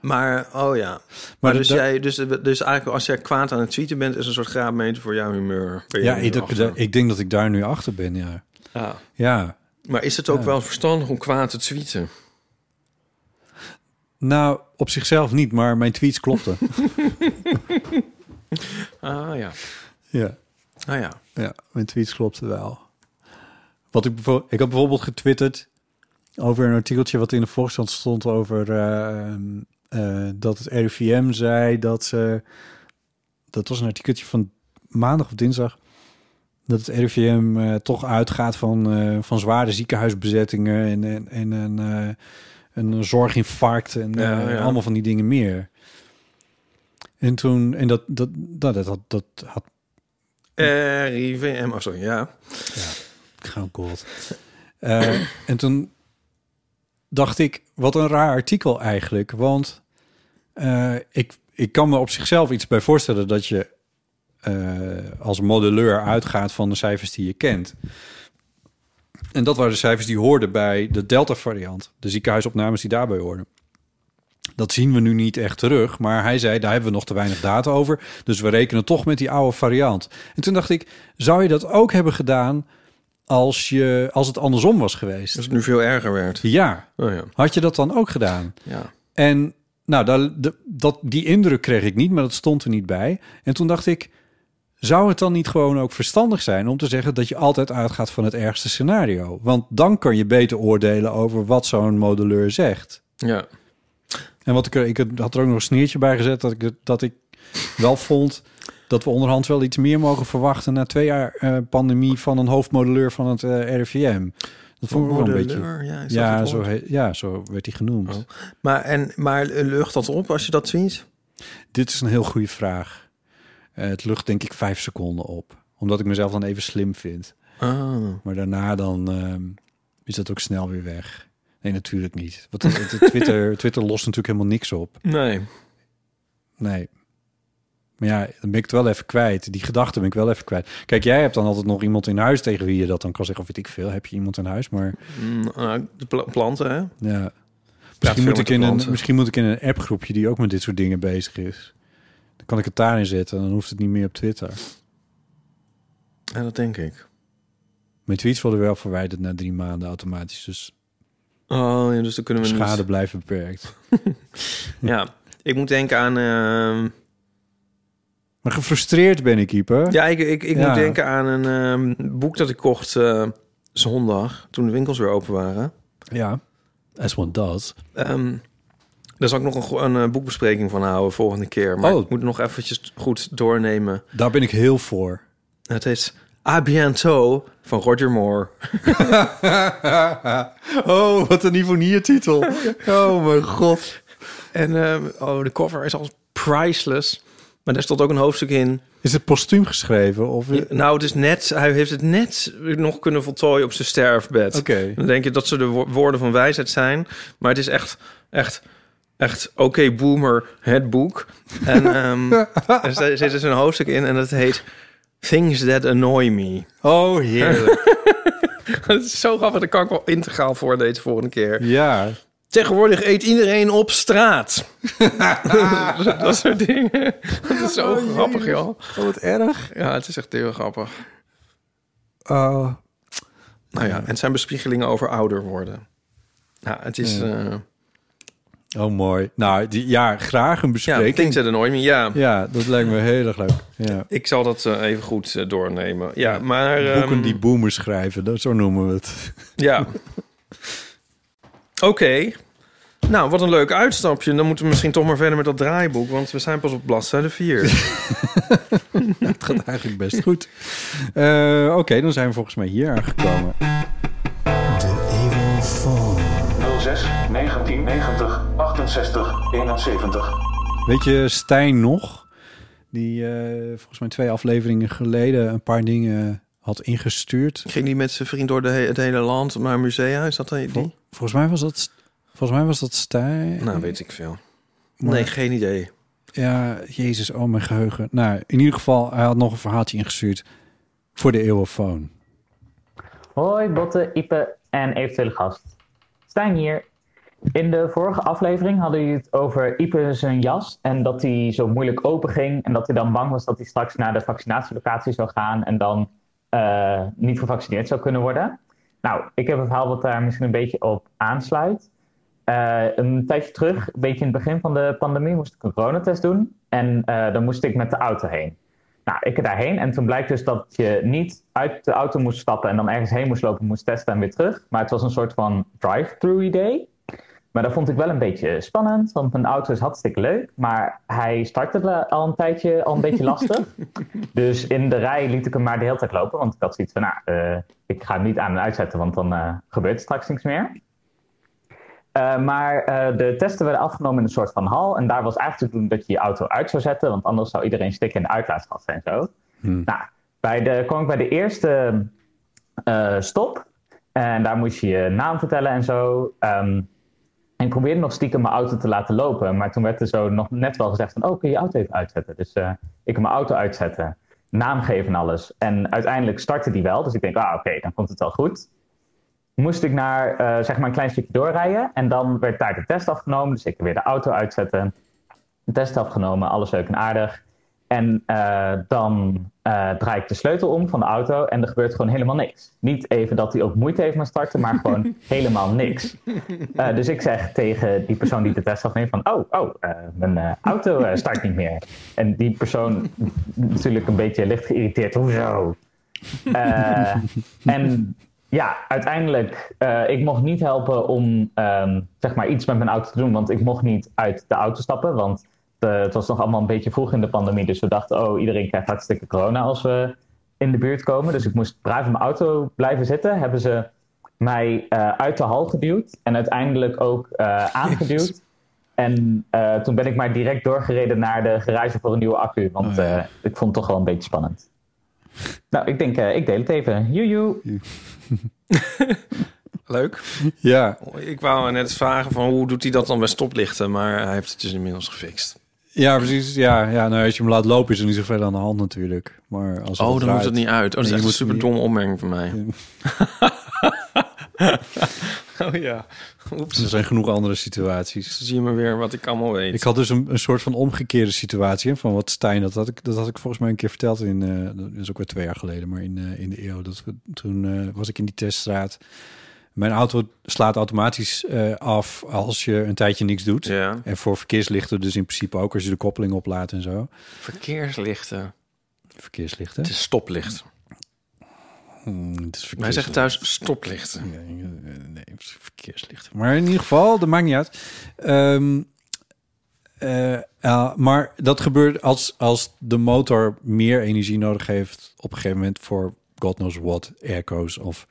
Maar, oh ja. Maar, Maar dus, dat- jij, dus, dus eigenlijk als jij kwaad aan het tweeten bent... is een soort graadmeter voor jouw humeur. Ben je Ja, er ik, achter. dat- ik denk dat ik daar nu achter ben, ja. Ja. Ja, Maar is het ook wel verstandig om kwaad te tweeten? nou, op zichzelf niet, maar mijn tweets klopten. Ah ja. ja. Ah ja. Ja, mijn tweets klopten wel. Wat ik, bijvo- ik had bijvoorbeeld getwitterd over een artikeltje wat in de Volkskrant stond over eh, eh, dat het RIVM zei dat ze... Dat was een artikeltje van maandag of dinsdag. Dat het RIVM eh, toch uitgaat van, eh, van zware ziekenhuisbezettingen en, en, en een, eh, een zorginfarct en Ja, eh, ja. allemaal van die dingen meer. En toen, en dat, dat, dat, dat, had- dat had RIVM, oh sorry, ja. Gewoon cold. Eh, en toen dacht ik, wat een raar artikel eigenlijk. Want eh, ik, ik kan me op zichzelf iets bij voorstellen dat je eh, als modelleur uitgaat van de cijfers die je kent. En dat waren de cijfers die hoorden bij de Delta-variant. De ziekenhuisopnames die daarbij hoorden. Dat zien we nu niet echt terug. Maar hij zei, daar hebben we nog te weinig data over. Dus we rekenen toch met die oude variant. En toen dacht ik, zou je dat ook hebben gedaan als, je, als het andersom was Dus geweest? het nu veel erger werd. Ja, Oh ja. had je dat dan ook gedaan? ja. En nou, daar, de- dat, die indruk kreeg ik niet, maar dat stond er niet bij. En toen dacht ik, zou het dan niet gewoon ook verstandig zijn om te zeggen dat je altijd uitgaat van het ergste scenario? Want dan kan je beter oordelen over wat zo'n modelleur zegt. Ja. En wat ik, er- ik had er ook nog een sneertje bij gezet dat ik, het- dat ik wel vond dat we onderhand wel iets meer mogen verwachten na twee jaar eh, pandemie van een hoofdmodelleur van het eh, RIVM. Dat vond ik ook wel een beetje. Modelleur, ja, is dat Ja het zo, woord? he- ja, zo werd hij genoemd. Oh. Maar, en, maar lucht dat op als je dat tweet? Dit is een heel goede vraag. Eh, het lucht denk ik vijf seconden op. Omdat ik mezelf dan even slim vind. Ah. Maar daarna dan ehm, is dat ook snel weer weg. Nee, natuurlijk niet. Want het- het- het Twitter, Twitter lost natuurlijk helemaal niks op. Nee. Nee. Maar ja, dan ben ik het wel even kwijt. Die gedachte ben ik wel even kwijt. Kijk, jij hebt dan altijd nog iemand in huis tegen wie je dat dan kan zeggen. Of weet ik veel, heb je iemand in huis? Maar Mm, nou, de pla- planten, hè? ja. Praat Misschien veel moet, met ik de in een, klanten. misschien moet ik in een appgroepje die ook met dit soort dingen bezig is. Dan kan ik het daarin zetten. Dan hoeft het niet meer op Twitter. Ja, dat denk ik. Mijn tweets worden wel verwijderd na drie maanden automatisch. Dus Oh, ja, dus dan kunnen we niet- schade blijft beperkt. Ja. Ik moet denken aan... ehm, Maar gefrustreerd ben ik, keeper. Ja, ik, ik, ik Ja. moet denken aan een ehm, boek dat ik kocht eh, zondag, toen de winkels weer open waren. ja. As one does. Ehm, daar zal ik nog een, go- een eh, boekbespreking van houden volgende keer. Maar Oh. ik moet nog eventjes goed doornemen. Daar ben ik heel voor. Het is A Bientôt van Roger Moore. oh, wat een Ivonier-titel. Oh, mijn god. En ehm, oh, de cover is al priceless. Maar daar stond ook een hoofdstuk in. Is het postuum geschreven? Of... Oké. Nou, het is net, hij heeft het net nog kunnen voltooien op zijn sterfbed. Dan denk je dat ze de wo- woorden van wijsheid zijn. Maar het is echt, echt, echt... Oké, boomer, het boek. En ehm, er zit- zit dus een hoofdstuk in en dat heet... Things that annoy me. Oh, heerlijk. Dat is zo grappig, dat kan ik wel integraal voor deze volgende keer. ja. Tegenwoordig eet iedereen op straat. dat soort dingen. Dat is zo grappig, joh. Oh, wat erg. Ja, het is echt heel grappig. Oh. Nou ja, en het zijn bespiegelingen over ouder worden. Ja, het is... eh, oh, mooi. Nou, die, ja, graag een ja, Things bespreking. Ja, that annoy me, ja. dat lijkt me heel erg leuk. Ja. Ik zal dat eh, even goed eh, doornemen. Ja, maar... ehm, Boeken die boomers schrijven, dat, zo noemen we het. Ja. Oké. Nou, wat een leuk uitstapje. Dan moeten we misschien toch maar verder met dat draaiboek... want we zijn pas op bladzijde 4. Het gaat eigenlijk best goed. Eh, Oké, dan zijn we volgens mij hier aangekomen. 06 1990 68 71. Weet je, Stijn nog? Die eh, volgens mij twee afleveringen geleden een paar dingen had ingestuurd. Ging die met zijn vriend door de he- het hele land naar musea? Is dat die? Vol- volgens mij was dat... Volgens mij was dat Stijn. Oh. Nou, weet ik veel. Maar- Nee, geen idee. Ja, jezus, oh mijn geheugen. Nou, in ieder geval, hij had nog een verhaaltje ingestuurd voor de eeuwofoon. Hoi Botte, Ipe en eventuele gast. Stijn hier. In de vorige aflevering hadden jullie het over Ipe zijn jas. En dat hij zo moeilijk open ging. En dat hij dan bang was dat hij straks naar de vaccinatielocatie zou gaan. En dan eh, niet gevaccineerd zou kunnen worden. Nou, ik heb een verhaal wat daar misschien een beetje op aansluit. Eh, een tijdje terug, een beetje in het begin van de pandemie, moest ik een coronatest doen. En eh, dan moest ik met de auto heen. Nou, ik er daarheen. En toen blijkt dus dat je niet uit de auto moest stappen en dan ergens heen moest lopen, moest testen en weer terug. Maar het was een soort van drive-through idee. Maar dat vond ik wel een beetje spannend, want mijn auto is hartstikke leuk. Maar hij startte wel al een tijdje al een beetje lastig. Dus in de rij liet ik hem maar de hele tijd lopen. Want ik had zoiets van, nou, eh, ik ga hem niet aan en uitzetten, want dan eh, gebeurt straks niks meer. Eh, maar eh, de testen werden afgenomen in een soort van hal. En daar was eigenlijk te doen dat je je auto uit zou zetten. Want anders zou iedereen stikken in de uitlaatgassen en zo. Nou, bij de, kwam ik bij de eerste eh, stop. En daar moest je je naam vertellen en zo. Ehm, en ik probeerde nog stiekem mijn auto te laten lopen. Maar toen werd er zo nog net wel gezegd van... oh, kun je je auto even uitzetten? Dus eh, ik heb mijn auto uitzetten. Naam geven en alles. En uiteindelijk startte die wel. Dus ik denk, ah, oké, dan komt het wel goed. Moest ik naar, eh, zeg maar, een klein stukje doorrijden. En dan werd daar de test afgenomen. Dus ik weer de auto uitzetten. De test afgenomen, alles leuk en aardig. En eh, dan eh, draai ik de sleutel om van de auto en er gebeurt gewoon helemaal niks. Niet even dat hij ook moeite heeft met starten, maar gewoon helemaal niks. Eh, dus ik zeg tegen die persoon die de test afneemt van... oh, oh eh, mijn eh, auto eh, start niet meer. En die persoon natuurlijk een beetje licht geïrriteerd. Hoezo? Eh, en ja, uiteindelijk... eh, ik mocht niet helpen om ehm, zeg maar iets met mijn auto te doen... want ik mocht niet uit de auto stappen... want eh, het was nog allemaal een beetje vroeg in de pandemie... dus we dachten, oh, iedereen krijgt hartstikke corona als we in de buurt komen. Dus ik moest braaf in mijn auto blijven zitten. Hebben ze mij eh, uit de hal geduwd en uiteindelijk ook eh, aangeduwd. En eh, toen ben ik maar direct doorgereden naar de garage voor een nieuwe accu. Want Oh ja. eh, ik vond het toch wel een beetje spannend. Nou, ik denk, eh, ik deel het even. Joejoe. Leuk. Ja, Ik wou net vragen van hoe doet hij dat dan bij stoplichten? Maar hij heeft het dus inmiddels gefixt. ja precies. Ja, ja nou, als je hem laat lopen is er niet zoveel aan de hand natuurlijk. Maar als Oh, dan moet het draait- niet uit. Oh, dat is Nee, echt je een super moet niet- domme opmerking van mij. oh ja. Oeps. Er zijn genoeg andere situaties. Zo zie je maar weer wat ik allemaal weet. Ik had dus een, een soort van omgekeerde situatie. hè, Van wat Stijn, dat had ik, dat had ik volgens mij een keer verteld. In, eh, dat is ook weer twee jaar geleden, maar in, eh, in de eeuw. Dat, we- toen eh, was ik in die teststraat. Mijn auto slaat automatisch eh, af als je een tijdje niks doet. Ja. En voor verkeerslichten dus in principe ook als je de koppeling oplaat en zo. Verkeerslichten. Verkeerslichten. Het is stoplicht. Hmm, het is Wij zeggen verkeerslichten. thuis stoplichten. Ja, eh, Nee, verkeerslichten. Maar in ieder geval, dat maakt niet uit. Ehm, eh, ja, maar dat gebeurt als, als de motor meer energie nodig heeft op een gegeven moment voor god knows what, airco's of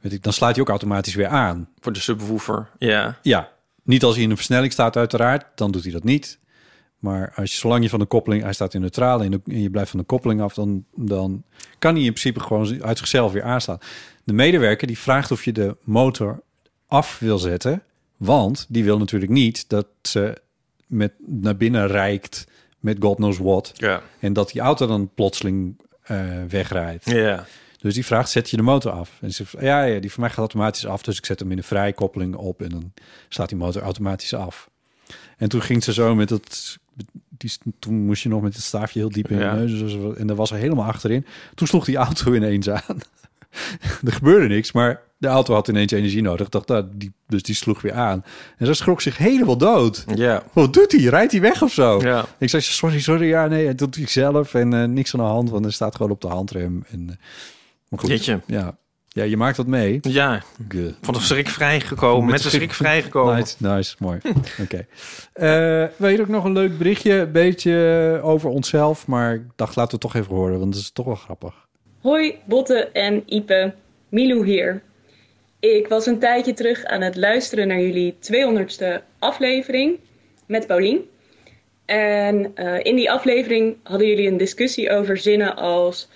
weet ik, dan slaat hij ook automatisch weer aan. Voor de subwoofer. Ja. Ja, niet als hij in een versnelling staat uiteraard, dan doet hij dat niet. Maar als je, zolang je van de koppeling, hij staat in neutrale en, en je blijft van de koppeling af, dan, dan kan hij in principe gewoon uit zichzelf weer aanslaan. De medewerker die vraagt of je de motor af wil zetten, want die wil natuurlijk niet dat ze met naar binnen reikt met god knows what Ja. en dat die auto dan plotseling eh, wegrijdt. Ja. Dus die vraagt, zet je de motor af? En ze zegt, ja, ja, die van mij gaat automatisch af. Dus ik zet hem in de vrijkoppeling op en dan slaat die motor automatisch af. En toen ging ze zo met dat... Die, toen moest je nog met het staafje heel diep in Ja. de neus. dus- En daar was hij helemaal achterin. Toen sloeg die auto ineens aan. er gebeurde niks, maar de auto had ineens energie nodig. Dacht, nou, die, dus die sloeg weer aan. En ze schrok zich helemaal dood. Ja. Wat doet hij? Rijdt hij weg of zo? Ja. Ik zei, sorry, sorry, ja, nee, dat doet hij zelf. En eh, niks aan de hand, want hij staat gewoon op de handrem. En, eh, maar goed, Jeetje. Ja. ja, je maakt dat mee. Ja. Guh. Van de schrik vrijgekomen. Met de schrik vrijgekomen. Nice, nice, mooi. Oké. Eh, we hadden ook nog een leuk berichtje, een beetje over onszelf. Maar ik dacht, laten we het toch even horen, want het is toch wel grappig. Hoi Botte en Ipe, Milou hier. Ik was een tijdje terug aan het luisteren naar jullie 200ste aflevering met Paulien. En eh, in die aflevering hadden jullie een discussie over zinnen als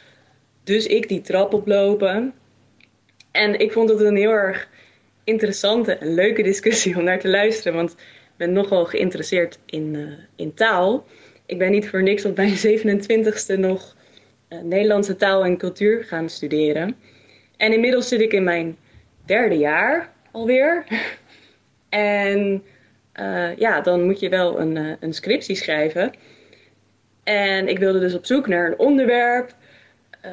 dus ik die trap oplopen. En ik vond het een heel erg interessante en leuke discussie om naar te luisteren, want ik ben nogal geïnteresseerd in, eh, in taal. Ik ben niet voor niks op mijn 27ste nog eh, Nederlandse taal en cultuur gaan studeren. En inmiddels zit ik in mijn derde jaar alweer. En eh, ja, dan moet je wel een, eh, een scriptie schrijven. En ik wilde dus op zoek naar een onderwerp. Eh,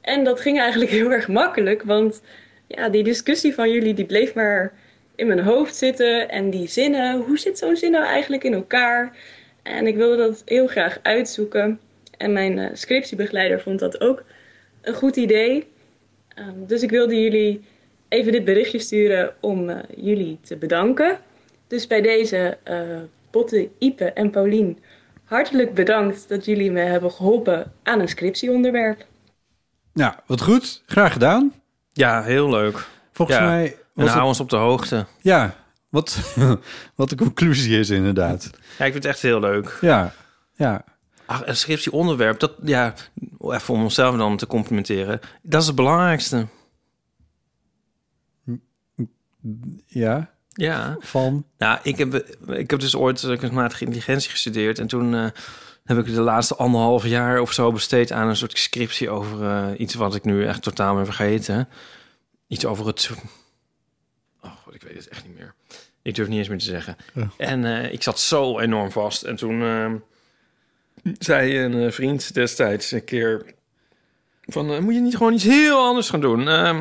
en dat ging eigenlijk heel erg makkelijk, want ja, die discussie van jullie die bleef maar in mijn hoofd zitten. En die zinnen, hoe zit zo'n zin nou eigenlijk in elkaar? En ik wilde dat heel graag uitzoeken. En mijn eh, scriptiebegeleider vond dat ook een goed idee. Ehm, dus ik wilde jullie even dit berichtje sturen om eh, jullie te bedanken. Dus bij deze eh Botte, Ipe en Paulien, hartelijk bedankt dat jullie me hebben geholpen aan een scriptieonderwerp. Nou, wat goed. Graag gedaan. Ja, heel leuk. Volgens Ja. mij En was hou het- ons op de hoogte. Ja, wat, wat de conclusie is inderdaad. Ja, ik vind het echt heel leuk. Ja, ja. Ach, een scriptieonderwerp, dat, ja, even om onszelf dan te complimenteren. Dat is het belangrijkste. Ja, Ja. van... Nou, ik heb, ik heb dus ooit kunstmatige intelligentie gestudeerd. En toen eh, heb ik de laatste anderhalf jaar of zo besteed aan een soort scriptie over eh, iets wat ik nu echt totaal ben vergeten. Iets over het. Oh, god, ik weet het echt niet meer. Ik durf niet eens meer te zeggen. Ja. En eh, ik zat zo enorm vast. En toen eh, zei een eh, vriend destijds een keer: van, eh, Moet je niet gewoon iets heel anders gaan doen? Ehm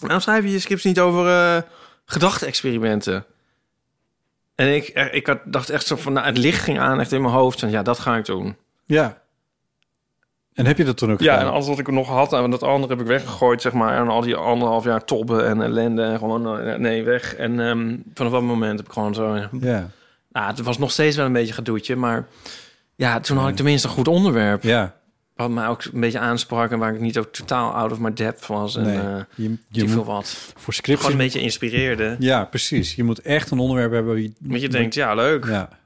waarom schrijf je je scripts niet over eh gedachte-experimenten? En ik, eh, ik had, dacht echt zo van, nou, het licht ging aan echt in mijn hoofd. En ja, dat ga ik doen. Ja. En heb je dat toen ook Ja, en gedaan? alles wat ik nog had, en dat andere heb ik weggegooid, zeg maar. En al die anderhalf jaar tobben en ellende en gewoon, eh, nee, weg. En ehm, vanaf dat moment heb ik gewoon zo... eh, Ja, Nou, het was nog steeds wel een beetje gedoetje, maar... Ja, toen had ik tenminste een goed onderwerp. ja. Wat mij ook een beetje aansprak en waar ik niet ook totaal out of my depth was. En Nee, eh, je, je die veel moet wat. voor Gewoon scriptie... een beetje inspireerde. Ja, precies. Je moet echt een onderwerp hebben... waar Want je denkt, ja, leuk. Ja.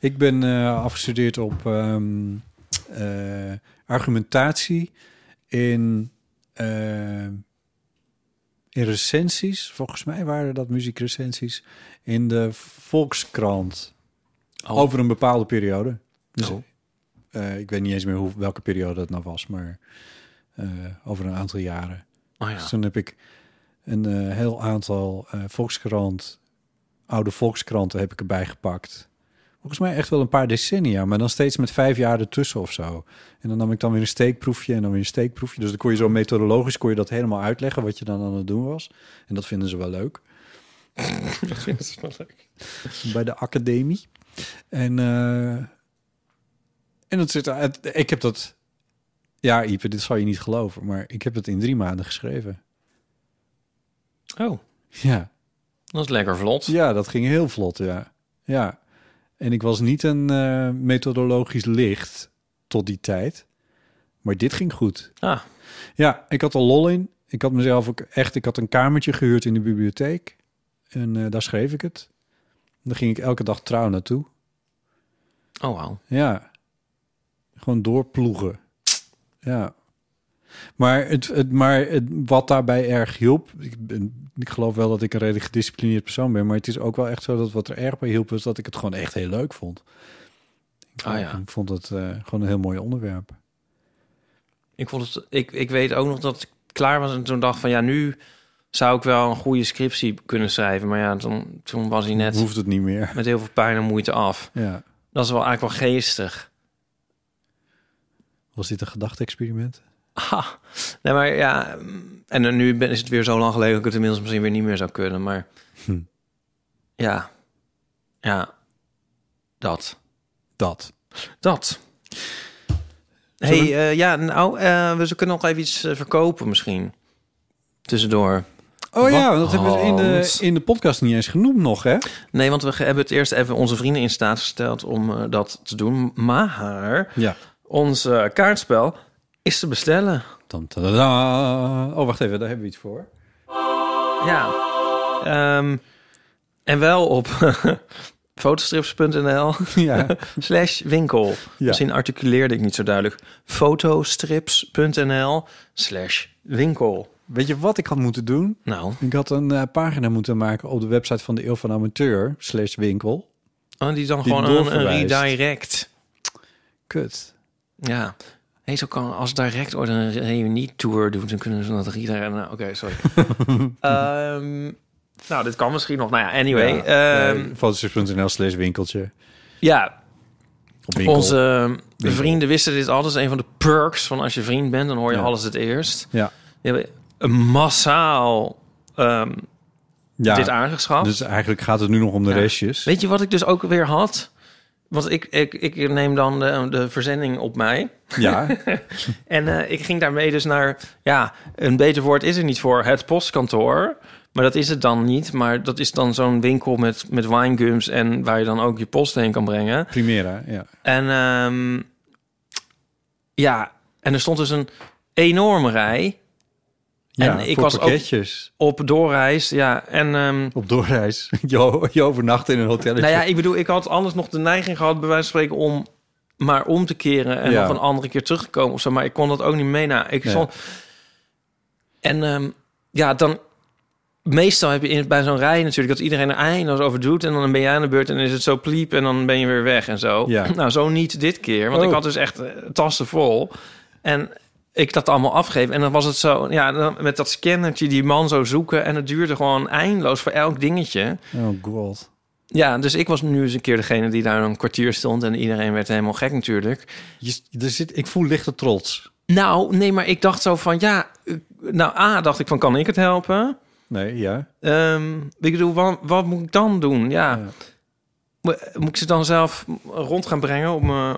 Ik ben eh, afgestudeerd op ehm, eh, argumentatie in, eh, in recensies. Volgens mij waren dat muziekrecensies in de Volkskrant. Oh. Over een bepaalde periode. Dus, Oh. eh, ik weet niet eens meer hoe, welke periode dat nou was, maar eh, over een aantal jaren. Oh ja. Dus toen heb ik een eh, heel aantal eh, Volkskrant, oude Volkskranten heb ik erbij gepakt. Volgens mij echt wel een paar decennia, maar dan steeds met vijf jaar ertussen of zo. En dan nam ik dan weer een steekproefje en dan weer een steekproefje. Dus dan kon je zo methodologisch kon je dat helemaal uitleggen wat je dan aan het doen was. En dat vinden ze wel leuk Dat is wel leuk. bij de academie. En, eh, en dat zit, het- ik heb dat, ja Ipe, dit zal je niet geloven, maar ik heb het in drie maanden geschreven. Oh, Ja. dat is lekker vlot. Ja, dat ging heel vlot, ja. Ja. En ik was niet een eh, methodologisch licht tot die tijd. Maar dit ging goed. Ah, Ja, ik had er lol in. Ik had mezelf ook echt... Ik had een kamertje gehuurd in de bibliotheek. En eh, daar schreef ik het. Daar ging ik elke dag trouw naartoe. oh wauw. Ja. Gewoon doorploegen. Ja. Maar, het, het, maar het, wat daarbij erg hielp... Ik, ben, ik geloof wel dat ik een redelijk gedisciplineerd persoon ben... maar het is ook wel echt zo dat wat er erg bij hielp... was dat ik het gewoon echt heel leuk vond. Ik vond, Ah, ja. ik vond het eh, gewoon een heel mooi onderwerp. Ik, vond het, ik, ik weet ook nog dat ik klaar was en toen dacht van ja, nu zou ik wel een goede scriptie kunnen schrijven. Maar ja, toen, toen was hij net Hoeft het niet meer. met heel veel pijn en moeite af. Ja. Dat is wel eigenlijk wel geestig. Was dit een gedachte-experiment? Ha. Nee, maar ja, mm, en dan nu ben, is het weer zo lang geleden dat ik het inmiddels misschien weer niet meer zou kunnen. Maar Hm. ja, ja, dat. Dat. Dat. hey, eh, ja, nou, eh, we kunnen nog even iets eh, verkopen misschien. Tussendoor. Oh ja, dat hebben we in de, Hans. in de podcast niet eens genoemd nog, hè? Nee, want we ge- hebben het eerst even onze vrienden in staat gesteld om eh, dat te doen. Maar Ja. ons eh, kaartspel is te bestellen. Tam, tadada. Oh, wacht even, daar hebben we iets voor. Ja. Ehm, en wel op fotostrips.nl ja. slash winkel. Misschien articuleerde ik niet zo duidelijk. fotostrips.nl slash winkel. Weet je wat ik had moeten doen? Nou, Ik had een eh, pagina moeten maken op de website van de Eeuw van Amateur slash winkel. oh, die dan Die gewoon een, een doorverwijst. redirect. Kut. Ja. Hey, zo kan als direct ooit een reunietour doen, dan kunnen ze dat rieder. Nou, Oké, sorry. Ehm, Nou, dit kan misschien nog. Nou ja, anyway. Ja, ehm, eh, Fotostrips.nl slash winkeltje. ja, Op winkel. onze eh, Winkel. vrienden wisten dit altijd. Dat is een van de perks van als je vriend bent, dan hoor je Ja. alles het eerst. Ja. Die hebben een massaal ehm, ja. dit aangeschaft. Dus eigenlijk gaat het nu nog om de Ja. restjes. Weet je wat ik dus ook weer had? Want ik, ik, ik neem dan de, de verzending op mij. Ja, En eh, ik ging daarmee dus naar... Ja, een beter woord is er niet voor. Het postkantoor. Maar dat is het dan niet. Maar dat is dan zo'n winkel met, met winegums... en waar je dan ook je post heen kan brengen. Primera. Ja. En ehm, ja, en er stond dus een enorme rij ja ik voor was ook- pakketjes. op doorreis. Ja, en... ehm, Op doorreis. Je, je overnacht in een hotel. Nou ja, ik bedoel, ik had anders nog de neiging gehad, bij wijze van spreken, om maar om te keren en Ja. nog een andere keer terug te komen of zo. Maar ik kon dat ook niet mee. Nou, ik Nee. stond... En ehm, ja, dan... Meestal heb je in, bij zo'n rij natuurlijk dat iedereen er eindeloos over doet... en dan ben jij aan de beurt en is het zo pliep en dan ben je weer weg en zo. Ja. Nou, zo niet dit keer, want Oh. ik had dus echt eh, tassen vol. En ik dat allemaal afgeef. En dan was het zo, ja, dan met dat scannertje die man zo zoeken... en het duurde gewoon eindeloos voor elk dingetje. Oh god. Ja, dus ik was nu eens een keer degene die daar een kwartier stond en iedereen werd helemaal gek natuurlijk. Je, er zit, ik voel lichte trots. Nou, nee, maar ik dacht zo van ja, eh, nou A, dacht ik van kan ik het helpen? Nee, ja. Ehm, ik bedoel, wat, wat moet ik dan doen? Ja. Ja. Mo- Moet ik ze dan zelf rond gaan brengen op mijn...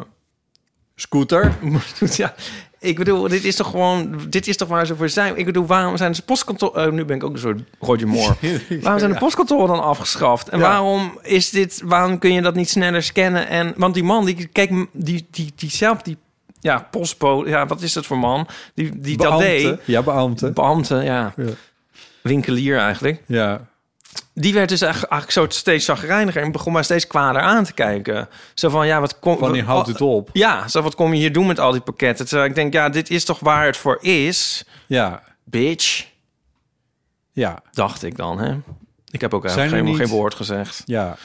Scooter. ja, ik bedoel, dit is toch gewoon, dit is toch waar ze voor zijn? Ik bedoel, waarom zijn ze postkantoor... eh, nu ben ik ook een soort Roger Moore. Waarom zijn de postkantoren dan afgeschaft? En Ja. waarom is dit? Waarom kun je dat niet sneller scannen? En want die man die kijk die die die zelf die ja postpo ja wat is dat voor man die die dat deed Beambte. Ja, beambte. beambte ja. Ja. winkelier eigenlijk Ja. die werd dus eigenlijk, eigenlijk zo steeds chagrijniger en begon maar steeds kwader aan te kijken zo van ja wat kom Wanneer houdt het op? ja zo wat kom je hier doen met al die pakketten terwijl ik denk ja dit is toch waar het voor is Ja. bitch Ja. dacht ik dan hè ik heb ook Zijn er eigenlijk helemaal niet- geen woord gezegd Ja.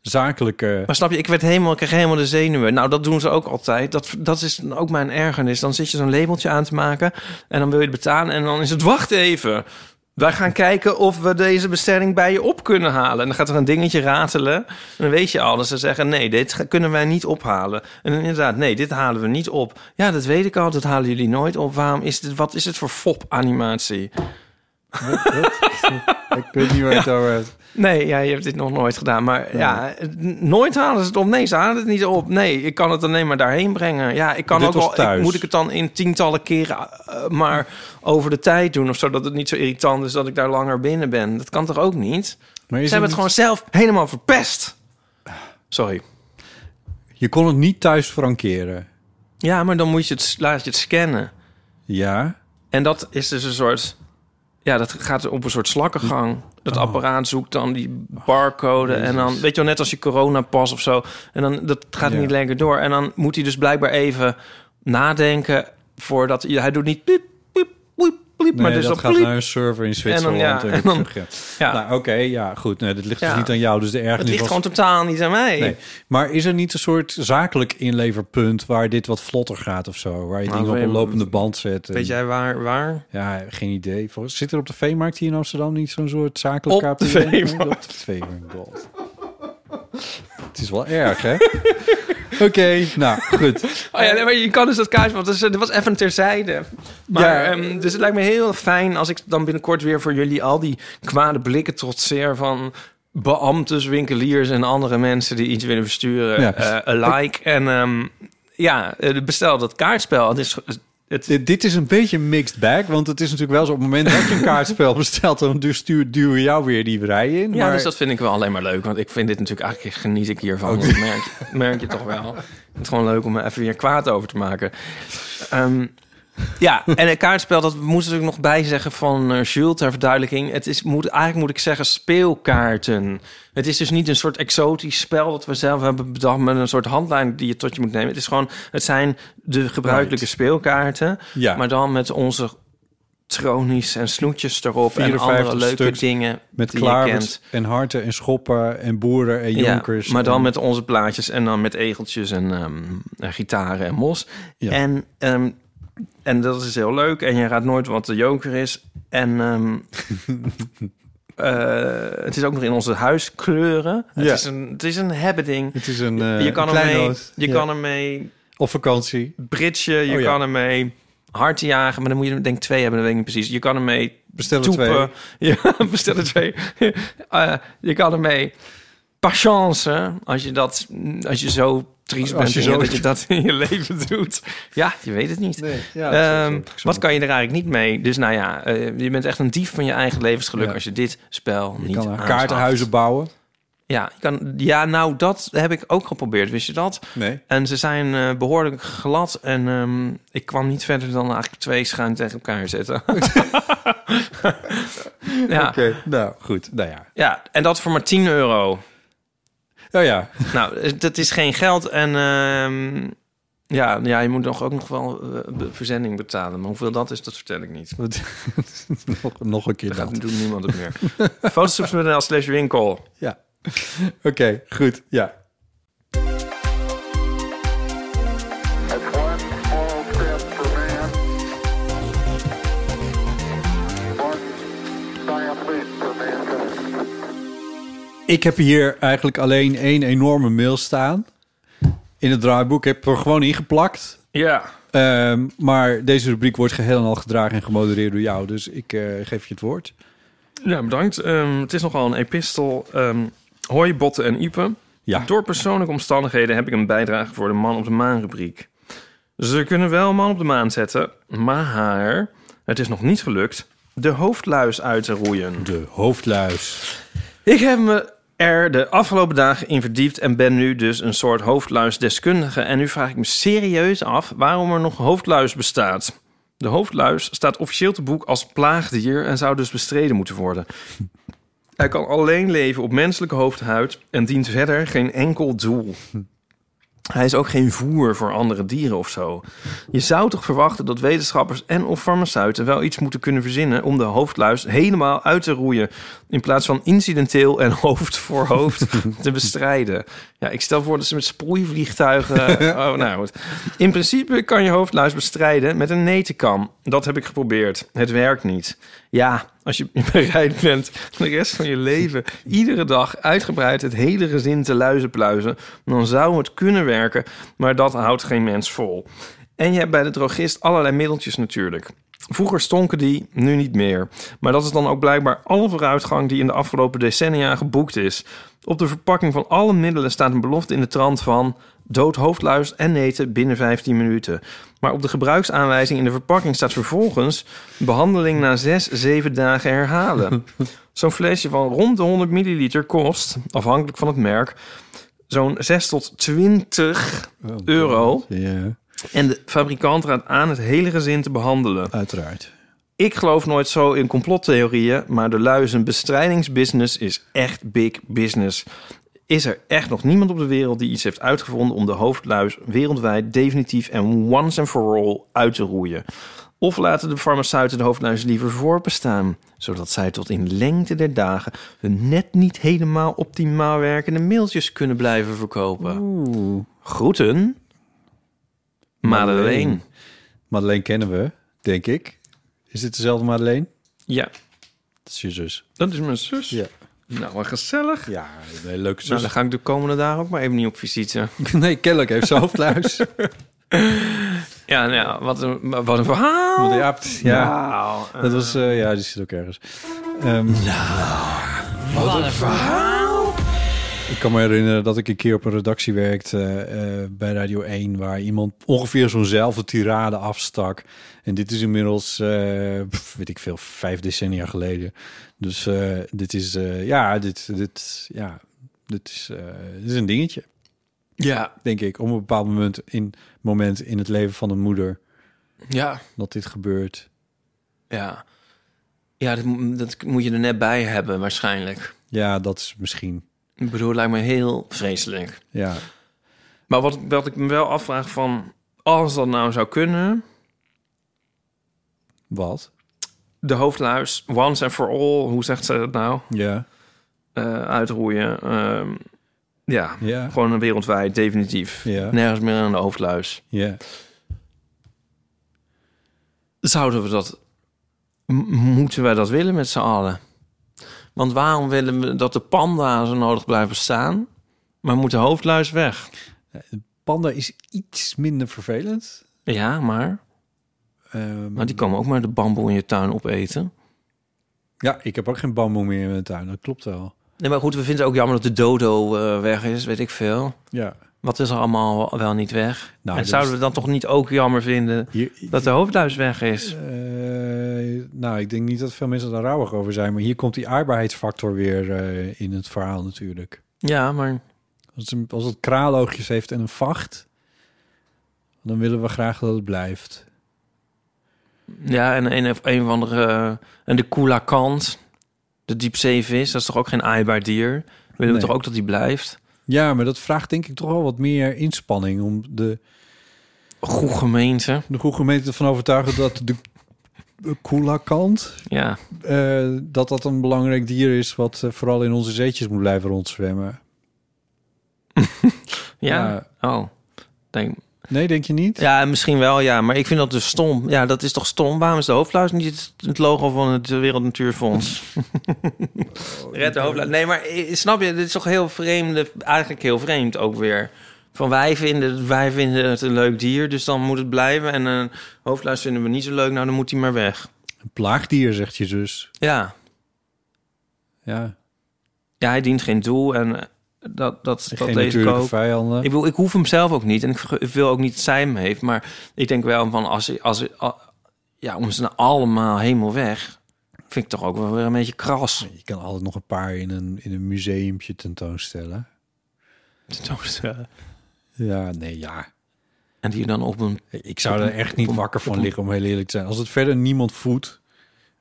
Zakelijke. Maar snap je, ik, werd helemaal, ik kreeg helemaal de zenuwen. Nou, dat doen ze ook altijd. Dat, dat is dan ook mijn ergernis. Dan zit je zo'n labeltje aan te maken en dan wil je het betalen. En dan is het, wacht even. Wij gaan kijken of we deze bestelling bij je op kunnen halen. En dan gaat er een dingetje ratelen. En dan weet je al dat ze zeggen, nee, dit ga- kunnen wij niet ophalen. En dan inderdaad, nee, dit halen we niet op. Ja, dat weet ik al, dat halen jullie nooit op. Waarom is dit, wat is het voor fop-animatie? ik weet niet waar je het over hebt. Nee, ja, je hebt dit nog nooit gedaan. Maar ja, n- nooit halen ze het op. Nee, ze halen het niet op. Nee, ik kan het alleen maar daarheen brengen. Ja, ik kan Dit ook was wel... thuis. Ik, moet ik het dan in tientallen keren eh, maar over de tijd doen of zo... dat het niet zo irritant is dat ik daar langer binnen ben? Dat kan toch ook niet? Maar Ze is hebben het gewoon niet- zelf helemaal verpest. Sorry. Je kon het niet thuis frankeren. Ja, maar dan moet je het, s- laat je het scannen. Ja. En dat is dus een soort... Ja, dat gaat op een soort slakkengang. Oh. Dat apparaat zoekt dan die barcode. en dan, weet je wel, net als je coronapas of zo. En dan, dat gaat Ja. niet lekker door. En dan moet hij dus blijkbaar even nadenken voordat... Hij, hij doet niet piep, piep, piep, piep. Nee, maar dus dat dan gaat nou pliep. naar een server in Zwitserland. ja, en en dan- ik zeg, Ja, ja. Nou, oké, ja, goed. Nee, dat ligt dus Ja. niet aan jou. Dus de het ergernis ligt was... gewoon totaal niet aan mij. Nee. Maar is er niet een soort zakelijk inleverpunt waar dit wat vlotter gaat of zo? Waar je Nou, dingen op weet- een lopende band zet? en- Weet jij waar? waar? Ja, geen idee. Volgens, zit er op de veemarkt hier in Amsterdam niet zo'n soort zakelijk Op de KPN? Op veemarkt. de veemarkt. God. Het is wel erg, hè? Oké, nou, goed. Oh ja, nee, maar je kan dus dat kaartje, want dat is- dat was even terzijde. Maar, Ja. ehm, dus het lijkt me heel fijn als ik dan binnenkort weer voor jullie al die kwade blikken trotseer van beambtes, winkeliers en andere mensen die iets willen versturen, Ja. eh, een like. En ehm, ja, eh, bestel dat kaartspel. Het is, het, Dit, dit is een beetje een mixed bag, want het is natuurlijk wel zo... op het moment dat je een kaartspel bestelt... dan du- stuur, duwen we jou weer die rij in. ja, maar dus dat vind ik wel alleen maar leuk. Want ik vind dit natuurlijk eigenlijk geniet ik hiervan. Oh. Dat merk, merk je toch wel. Het is gewoon leuk om er even weer kwaad over te maken. Ehm, ja, en een kaartspel, dat moest ik er nog bij zeggen van eh Jules ter verduidelijking. Het is, moet, eigenlijk moet ik zeggen speelkaarten. Het is dus niet een soort exotisch spel dat we zelf hebben bedacht met een soort handlijn die je tot je moet nemen. Het is gewoon, het zijn de gebruikelijke Right. speelkaarten, Ja. maar dan met onze tronies en snoetjes erop en 54 andere leuke stuks dingen met die je kent. klaarwet en harten en schoppen en boeren en jonkers. Ja, maar dan en- met onze plaatjes en dan met egeltjes en, ehm, en gitaren en mos. Ja. En, ehm, en dat is heel leuk. En je raadt nooit wat de joker is. En ehm, eh, het is ook nog in onze huiskleuren. Ja. Het, is een, het is een hebbeding. Het is een eh je kan ermee, kleinoot. je Ja. kan ermee Op vakantie. britsen, je Oh ja. kan ermee hard jagen, maar dan moet je er denk ik twee hebben, dat weet ik niet precies. Je kan ermee Bestellen twee. toepen, ja, bestellen twee. Eh, je kan ermee patience, als je dat, als je zo triest Als bent je en zo- dat je dat in je leven doet. Ja, je weet het niet. Nee, Ehm, wat kan je er eigenlijk niet mee? Dus nou ja, eh, je bent echt een dief van je eigen levensgeluk Ja. als je dit spel je niet kan er aanschaft. kaartenhuizen bouwen. Ja, je kan, ja, nou dat heb ik ook geprobeerd, wist je dat? Nee. En ze zijn eh, behoorlijk glad en ehm, ik kwam niet verder dan eigenlijk twee schuin tegen elkaar zetten. ja. Oké, nou goed. Nou ja. ja, en dat voor maar 10 euro. Oh ja. Nou, dat is geen geld en ehm, ja, ja, je moet nog ook nog wel eh, be- verzending betalen. Maar hoeveel dat is, dat vertel ik niet. Wat- nog, nog een keer Dan dat. gaat doet niemand het meer. Fotostrips.nl slash winkel. Ja. Oké, goed. Ja. Ik heb hier eigenlijk alleen één enorme mail staan. In het draaiboek Ik heb ik er gewoon ingeplakt. Ja. Ehm, maar deze rubriek wordt geheel en al gedragen en gemodereerd door jou. Dus ik eh, geef je het woord. Ja, bedankt. Ehm, het is nogal een epistel. Ehm Hoi, Botten en Ipe. Ja. Door persoonlijke omstandigheden heb ik een bijdrage voor de Man op de Maan rubriek. Ze kunnen wel Man op de Maan zetten, maar het is nog niet gelukt de hoofdluis uit te roeien. De hoofdluis. Ik heb me er de afgelopen dagen in verdiept en ben nu dus een soort hoofdluisdeskundige. En nu vraag ik me serieus af waarom er nog hoofdluis bestaat. De hoofdluis staat officieel te boek als plaagdier en zou dus bestreden moeten worden. Hij kan alleen leven op menselijke hoofdhuid en dient verder geen enkel doel. Hij is ook geen voer voor andere dieren of zo. Je zou toch verwachten dat wetenschappers en of farmaceuten wel iets moeten kunnen verzinnen om de hoofdluis helemaal uit te roeien. In plaats van incidenteel en hoofd voor hoofd te bestrijden. Ja, ik stel voor dat ze met sproeivliegtuigen. Oh, nou goed. In principe kan je hoofdluis bestrijden met een netenkam. Dat heb ik geprobeerd. Het werkt niet. Ja, als je bereid bent de rest van je leven iedere dag uitgebreid het hele gezin te luizenpluizen, dan zou het kunnen werken, maar dat houdt geen mens vol. En je hebt bij de drogist allerlei middeltjes natuurlijk. Vroeger stonken die, nu niet meer. Maar dat is dan ook blijkbaar alle vooruitgang die in de afgelopen decennia geboekt is. Op de verpakking van alle middelen staat een belofte in de trant van dood hoofdluis en neten binnen 15 minuten. Maar op de gebruiksaanwijzing in de verpakking staat vervolgens behandeling na 6, 7 dagen herhalen. Zo'n flesje van rond de 100 milliliter kost, afhankelijk van het merk, zo'n 6 tot 20 euro. Ja, En de fabrikant raadt aan het hele gezin te behandelen. uiteraard. Ik geloof nooit zo in complottheorieën, maar de luizenbestrijdingsbusiness is echt big business. Is er echt nog niemand op de wereld die iets heeft uitgevonden om de hoofdluis wereldwijd definitief en once and for all uit te roeien? Of laten de farmaceuten de hoofdluis liever voorbestaan, zodat zij tot in lengte der dagen hun net niet helemaal optimaal werkende mailtjes kunnen blijven verkopen? Groeten, Madeleine. Madeleine kennen we, denk ik. Is dit dezelfde Madeleine? Ja, Dat is je zus. dat is mijn zus. Ja. Nou, wat gezellig. Ja, een hele leuke Nou, zus. dan ga ik de komende dagen ook maar even niet op visite. nee, kennelijk heeft ze hoofdluis. Ja, nou ja, wat een, wat een verhaal. ja, precies. ja, Wauw. Eh, dat was... eh, ja, die zit ook ergens. Ehm, Ik kan me herinneren dat ik een keer op een redactie werkte eh, bij Radio 1... waar iemand ongeveer zo'nzelfde tirade afstak. En dit is inmiddels, eh, pff, weet ik veel, vijf decennia geleden. Dus eh, dit is... eh, ja, dit, dit, ja, dit, is, eh, dit is een dingetje. ja, denk ik, op een bepaald moment in, moment in het leven van een moeder ja, dat dit gebeurt. ja. Ja, dat, mo- dat moet je er net bij hebben waarschijnlijk. Ja, dat is misschien. Ik bedoel, lijkt me heel vreselijk. Ja, Maar wat, wat ik me wel afvraag van... Als dat nou zou kunnen... wat? De hoofdluis, once and for all, hoe zegt ze dat nou? Ja, Eh, uitroeien. ehm, ja, ja, gewoon wereldwijd, definitief. Ja. Nergens meer aan de hoofdluis. ja. Zouden we dat... m- moeten wij dat willen met z'n allen? Want waarom willen we dat de panda zo nodig blijven staan, maar moet de hoofdluis weg? Panda is iets minder vervelend. Ja, maar, Ehm, maar die komen ook maar de bamboe in je tuin opeten. Ja, ik heb ook geen bamboe meer in mijn tuin. Dat klopt wel. Nee, maar goed, we vinden het ook jammer dat de dodo eh, weg is, weet ik veel. Ja. Wat is er allemaal wel niet weg? Nou, en dat zouden is- we dan toch niet ook jammer vinden Hier, dat de hoofdluis weg is? Eh, nou, ik denk niet dat veel mensen daar rouwig over zijn. Maar hier komt die aardbaarheidsfactor weer eh, in het verhaal natuurlijk. Ja, maar Als het, als het kraaloogjes heeft en een vacht, dan willen we graag dat het blijft. ja, en een of een of andere. eh, en de koelakant, de diepzeevis, dat is toch ook geen aaibaar dier? Willen we Nee. toch ook dat die blijft? Ja, maar dat vraagt denk ik toch wel wat meer inspanning om de, Goed gemeente. de goede gemeente ervan overtuigen dat de koelakant, Ja, eh dat dat een belangrijk dier is wat eh, vooral in onze zeetjes moet blijven rondzwemmen. ja. Oh, denk. Nee, denk je niet? Ja, misschien wel, ja. Maar ik vind dat dus stom. Ja, dat is toch stom? Waarom is de hoofdluis niet het- het logo van het Wereld Natuurfonds? Red de hoofdluis. Nee, maar eh, snap je? Dit is toch heel vreemde, eigenlijk heel vreemd ook weer. Van wij vinden, wij vinden het een leuk dier, dus dan moet het blijven. En een hoofdluis vinden we niet zo leuk, nou dan moet hij maar weg. Een plaagdier, zegt je zus. Ja, Ja, ja hij dient geen doel en eh, dat, dat, dat geen lees ik natuurlijke ook. vijanden. Ik, bedoel, ik hoef hem zelf ook niet. En ik ver- ik wil ook niet dat zij hem heeft. Maar ik denk wel van als, hij- als, hij- al- ja, om ze nou allemaal helemaal weg. Vind ik toch ook wel weer een beetje kras. Je kan altijd nog een paar in een, in een museumpje tentoonstellen. Ja, nee, ja. eh, En die dan op een. Ik zou er echt niet Op een- wakker op van een- liggen, om heel eerlijk te zijn. Als het verder niemand voedt.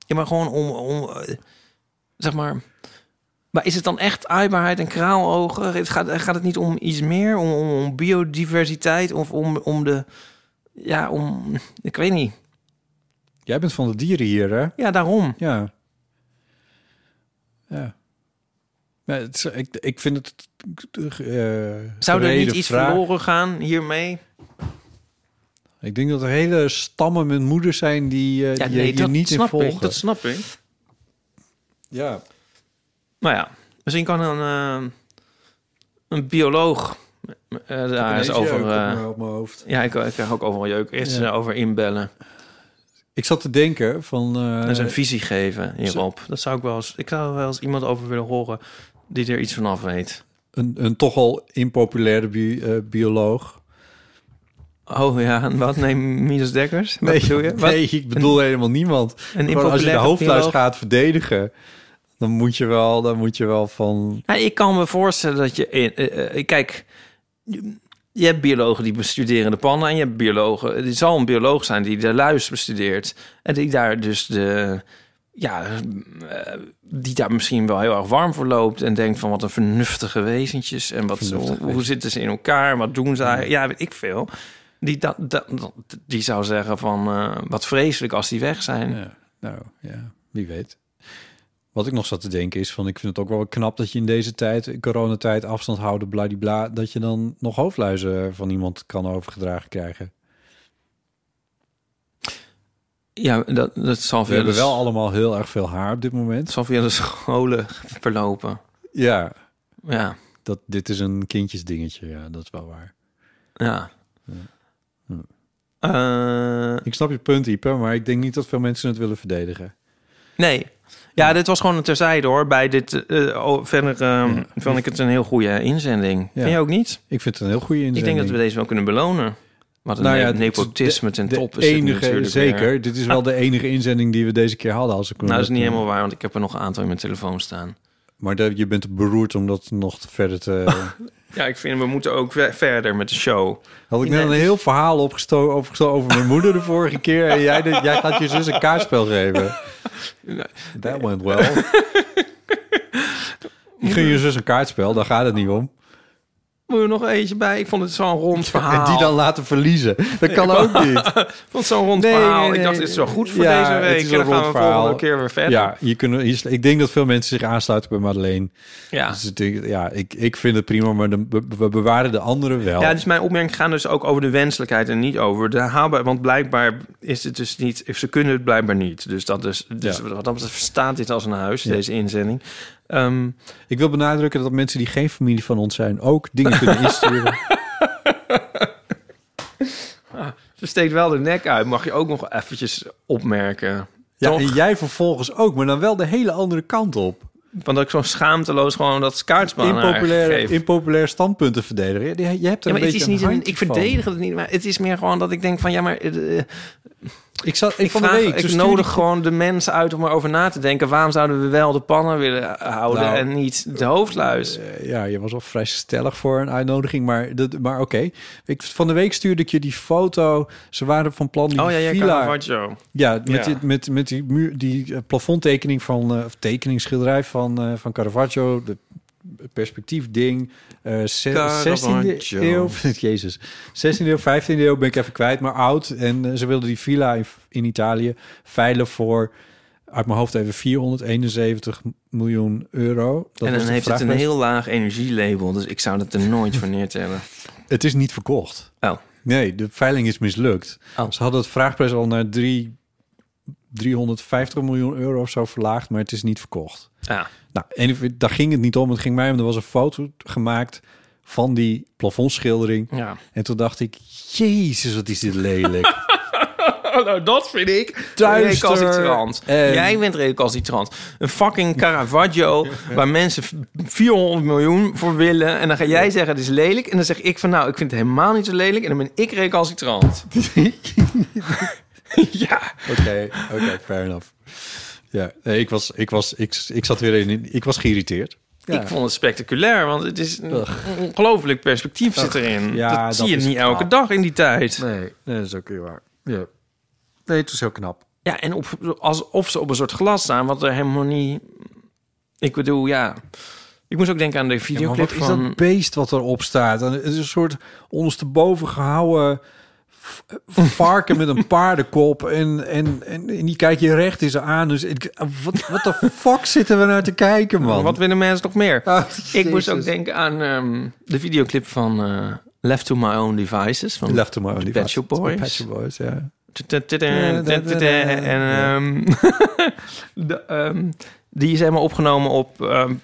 Ja, maar gewoon om. om eh, zeg maar. Maar is het dan echt aaibaarheid en kraalogen? Het gaat, gaat het niet om iets meer? Om, om, om biodiversiteit? Of om, om de. Ja, om. Ik weet niet. Jij bent van de dieren hier, hè? Ja, daarom. Ja. Ja. Ja, het is- ik, ik vind het... eh, Zou er niet gereden iets vraag. verloren gaan hiermee? Ik denk dat er hele stammen met moeders zijn die, eh, die je hier niet in snap volgen. ik. Dat snap ik. Ja. Nou ja, misschien kan een, eh, een bioloog eh daar eens over. eh, op mijn hoofd. ja, ik, ik krijg ook overal jeuk. Eerst Ja. eh, over inbellen Ik zat te denken van... eh, en zijn visie geven hierop. Dat zou ik wel eens. Ik zou wel eens iemand over willen horen die er iets vanaf weet. een, een toch al impopulaire bi- eh, bioloog. Oh ja, en wat neem Minus Dekkers? Wat bedoel je? Wat? nee, ik bedoel helemaal niemand. Een Maar als je de impopulaire hoofdluis bioloog? gaat verdedigen, dan moet je wel, dan moet je wel van. Nou, ik kan me voorstellen dat je... eh, eh, eh, kijk, je- je hebt biologen die bestuderen de panda... en je hebt biologen... Er zal een bioloog zijn die de luis bestudeert... en die daar dus de... Ja, eh, die daar misschien wel heel erg warm voor loopt... en denkt van wat een vernuftige wezentjes... en wat, Vernuftige hoe, hoe wezentjes. zitten ze in elkaar, wat doen zij? Ja, weet ik veel. Die, dat, dat, dat- die zou zeggen van eh, wat vreselijk als die weg zijn. Ja, nou ja, wie weet. Wat ik nog zat te denken is van, ik vind het ook wel knap dat je in deze tijd, in coronatijd, afstand houden, bladibla, dat je dan nog hoofdluizen van iemand kan overgedragen krijgen. Ja, dus- dat, dat zal We via, hebben de, wel allemaal heel erg veel haar op dit dat moment. zal via de scholen verlopen. Ja, Ja. dat, dit is een kindjesdingetje, ja, dat is wel waar. Ja. Hm. Eh, Ik snap je punt, Ipe, maar ik denk niet dat veel mensen het willen verdedigen. nee. Ja, dit was gewoon een terzijde hoor. Bij dit, eh, oh, verder ehm, vond ik het een heel goede inzending. Ja. Vind je ook niet? Ik vind het een heel goede inzending. Ik denk dat we deze wel kunnen belonen. Wat een Nou ne- ja, het- nepotisme ten De top is dit enige, natuurlijk zeker. weer. Dit is wel de enige inzending die we eh, deze keer hadden. Als ik Nou, dat is niet helemaal waar, want ik heb er nog een aantal in mijn telefoon staan. Maar dat, je bent beroerd om dat nog te- verder te... Ja, ik vind we moeten ook we- verder met de show. Had ik net een heel verhaal opgesto opgesto over mijn moeder de vorige keer. En jij, deed- jij gaat je zus een kaartspel geven. That went well. Ik gun je zus een kaartspel, daar gaat het niet om. Wil je nog eentje bij? Ik vond het zo'n rond verhaal. En die dan laten verliezen. Dat kan ook niet. Ik vond het zo'n rond Nee, verhaal. nee, nee. Ik dacht, dit is wel goed voor Ja, deze het week. is En een dan gaan rond we verhaal. volgende keer weer verder. Ja, je kunt, je- ik denk dat veel mensen zich aansluiten bij Madeleine. ja. Dus ik denk, ja, ik, ik vind het prima, maar dan be- we bewaren de anderen wel. Ja, dus mijn opmerkingen gaan dus ook over de wenselijkheid en niet over de haalbaar. Want blijkbaar is het dus niet, ze kunnen het blijkbaar niet. Dus dat is, dus Ja. wat dat betreft staat dit als een huis, deze inzending. Ehm, Ik wil benadrukken dat mensen die geen familie van ons zijn ook dingen kunnen insturen. ze steekt wel de nek uit, mag je ook nog eventjes opmerken. ja, Toch? en jij vervolgens ook, maar dan wel de hele andere kant op. Want dat ik zo schaamteloos gewoon dat kaartspel aan haar Impopulaire, nou, geef. impopulair standpunt te verdedigen. Ja, die- Je hebt er Ja, maar een het beetje is niet een, handje ik van. verdedig het niet, maar het is meer gewoon dat ik denk van ja, maar eh, eh, Ik zat ik ik, van de vraag- week. ik toen nodig stuurde gewoon de mensen uit om erover na te denken. Waarom zouden we wel de pannen willen houden Nou, en niet de hoofdluis? ik- eh, Ja, je was al vrij stellig voor een uitnodiging, maar, dat- maar oké. Ik- Van de week stuurde ik je die foto. Ze waren van plan die Oh ja, jij villa... kan wat zo. Ja, met, Ja. Die, met, met die, muur, die eh, plafondtekening van, eh, of tekeningsschilderij van, eh, van Caravaggio, de perspectiefding, eh ze- Caravaggio. 16e eeuw, jezus, 16e eeuw, 15e eeuw ben ik even kwijt, maar oud. En eh, ze wilden die villa in, in Italië veilen voor, uit mijn hoofd even, 471 miljoen euro. Dat en was dan heeft de het een vraagprijs. heel laag energielabel, dus ik zou dat er nooit voor neertellen. Het is niet verkocht. Oh, Nee, de veiling is mislukt. Oh. Ze hadden het vraagprijs al naar drie- 350 miljoen euro of zo verlaagd, maar het is niet verkocht. ja. Nou, anyway, daar ging het niet om. Het ging mij om. Er was een foto gemaakt van die plafondschildering. ja. En toen dacht ik, jezus, wat is dit lelijk. Nou, dat vind ik Duister recalcitrant. en- Jij bent recalcitrant. Een fucking Caravaggio waar mensen 400 miljoen voor willen. En dan ga jij zeggen het is lelijk. En dan zeg ik van nou, ik vind het helemaal niet zo lelijk. En dan ben ik recalcitrant. ja. Oké, oké, fair enough. Ja, nee, ik was, ik was, ik, ik zat weer in, ik was geïrriteerd. Ja. Ik vond het spectaculair, want het is een ongelooflijk perspectief zit erin. Ja, dat dat zie je is niet gaaf. elke dag in die tijd. Nee, nee, dat is ook weer waar. Ja. Nee, het was heel knap. Ja, en op, alsof ze op een soort glas staan, wat er helemaal niet... Ik bedoel, ja... Ik moest ook denken aan de Ja, maar videoclip wat is van... dat beest wat erop staat? En Het is een soort ondersteboven gehouden v- eh, varken met een paardenkop. En, en, en, en die kijk je recht in ze aan. Dus ik, wat, wat de fuck zitten we naar te kijken, man? Wat willen mensen nog meer? Ah, ik moest Jezus. ook denken aan ehm, de videoclip van eh, Left to My Own Devices. Van Left to my own de devices. Pet Shop De Pet Boys. Shop Boys, ja. Tudutudu, tudutudu, En ehm, de, ehm, die is helemaal opgenomen op, ehm,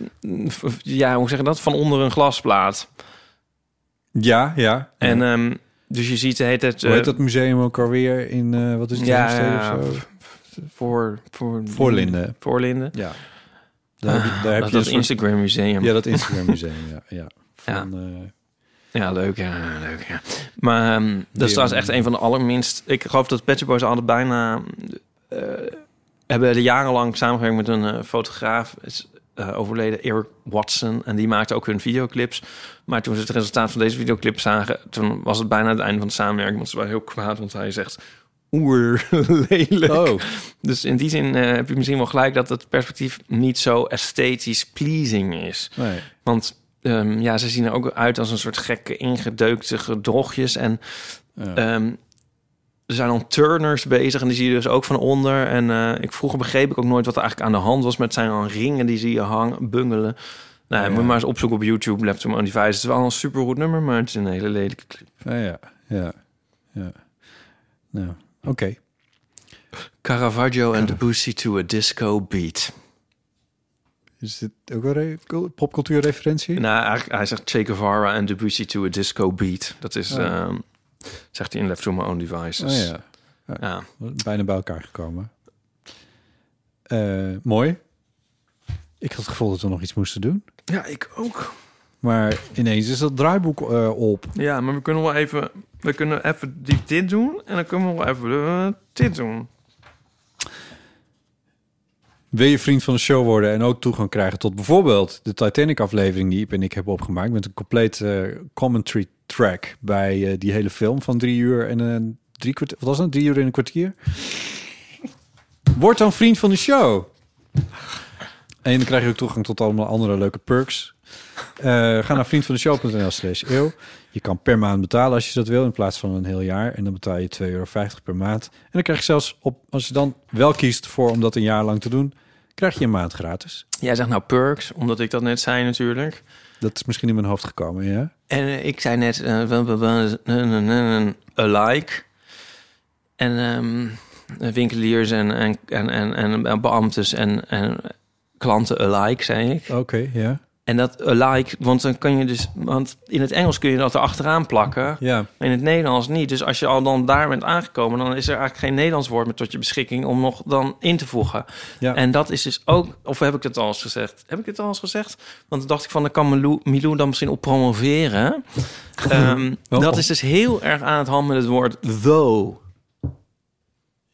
f- f- ja, hoe zeg je dat? Van onder een glasplaat. Ja, ja. En Hoe ehm, dus je ziet, heet het, eh, heet dat museum ook alweer in, eh, wat is het, Ja, Heemstede ja, of zo? voor, voor, Voorlinden. Voorlinden. Ja. Daar heb je, Ah, Dat, daar heb je dat een soort- Instagram museum. Ja, Ja, dat Instagram museum, ja. ja. Van, eh, leuk, ja, leuk, ja. Maar ehm, dat Die, is trouwens ehm, echt een van de allerminst... Ik geloof dat Pet Shop Boys hadden bijna... eh, hebben er jarenlang samengewerkt met een eh, fotograaf. Is eh, overleden, Eric Watson. En die maakte ook hun videoclips. Maar toen ze het resultaat van deze videoclip zagen... toen was het bijna het einde van de samenwerking. Want ze waren heel kwaad, want hij zegt... Oer, lelijk. Oh, Dus in die zin eh, heb je misschien wel gelijk dat het perspectief niet zo esthetisch pleasing is. nee. Want ehm, ja, ze zien er ook uit als een soort gekke, ingedeukte gedrochtjes. En Ja. ehm, er zijn dan turners bezig en die zie je dus ook van onder. En eh, ik vroeger begreep ik ook nooit wat er eigenlijk aan de hand was. Maar het zijn dan ringen die zie je hangen, bungelen. Nou, moet je maar eens opzoeken op YouTube, Laptop on Device. Het is wel een supergoed nummer, maar het is een hele lelijke clip. Ah, ja, ja, ja. Nou, oké. Caravaggio and the Boosie to a Disco Beat. Is dit ook een re- popcultuurreferentie? Nou, eigenlijk, hij zegt Che Guevara en Debussy to a disco beat. Dat is, ehm, zegt hij in Left to My Own Oh Devices. ja, ja. bijna bij elkaar gekomen. Eh, mooi. Ik had het gevoel dat we nog iets moesten doen. ja, ik ook. Maar ineens is dat draaiboek eh, op. Ja, maar we kunnen wel even, we kunnen even die dit doen en dan kunnen we wel even eh, dit doen. Wil je vriend van de show worden en ook toegang krijgen tot bijvoorbeeld de Titanic-aflevering die Iep en ik hebben opgemaakt met een compleet eh, commentary track bij eh, die hele film van drie uur en een drie kwartier. Wat was dat? Drie uur en een kwartier. Word dan vriend van de show. En dan krijg je ook toegang tot allemaal andere leuke perks. Eh, ga naar vriendvandeshow.nl slash eeuw. Je kan per maand betalen als je dat wil in plaats van een heel jaar. En dan betaal je 2,50 euro per maand. En dan krijg je zelfs op, als je dan wel kiest voor om dat een jaar lang te doen, krijg je een maand gratis. Jij zegt nou perks, omdat ik dat net zei natuurlijk. Dat is misschien in mijn hoofd gekomen, ja. En eh, ik zei net, eh, wel- wel- wel- een- een- een- een like. eh, En ehm, eh, winkeliers en, en, en, en, en, en beambtes en, en klanten alike, zei ik. Oké, ja. En dat alike, want dan kan je dus, want in het Engels kun je dat er achteraan plakken. Ja, In het Nederlands niet. Dus als je al dan daar bent aangekomen, dan is er eigenlijk geen Nederlands woord meer tot je beschikking om nog dan in te voegen. ja. En dat is dus ook, of heb ik het al eens gezegd? Heb ik het al eens gezegd? Want dan dacht ik van, dan kan Milou, Milou dan misschien op promoveren. Ehm, Oh. Dat is dus heel erg aan het hand met het woord though.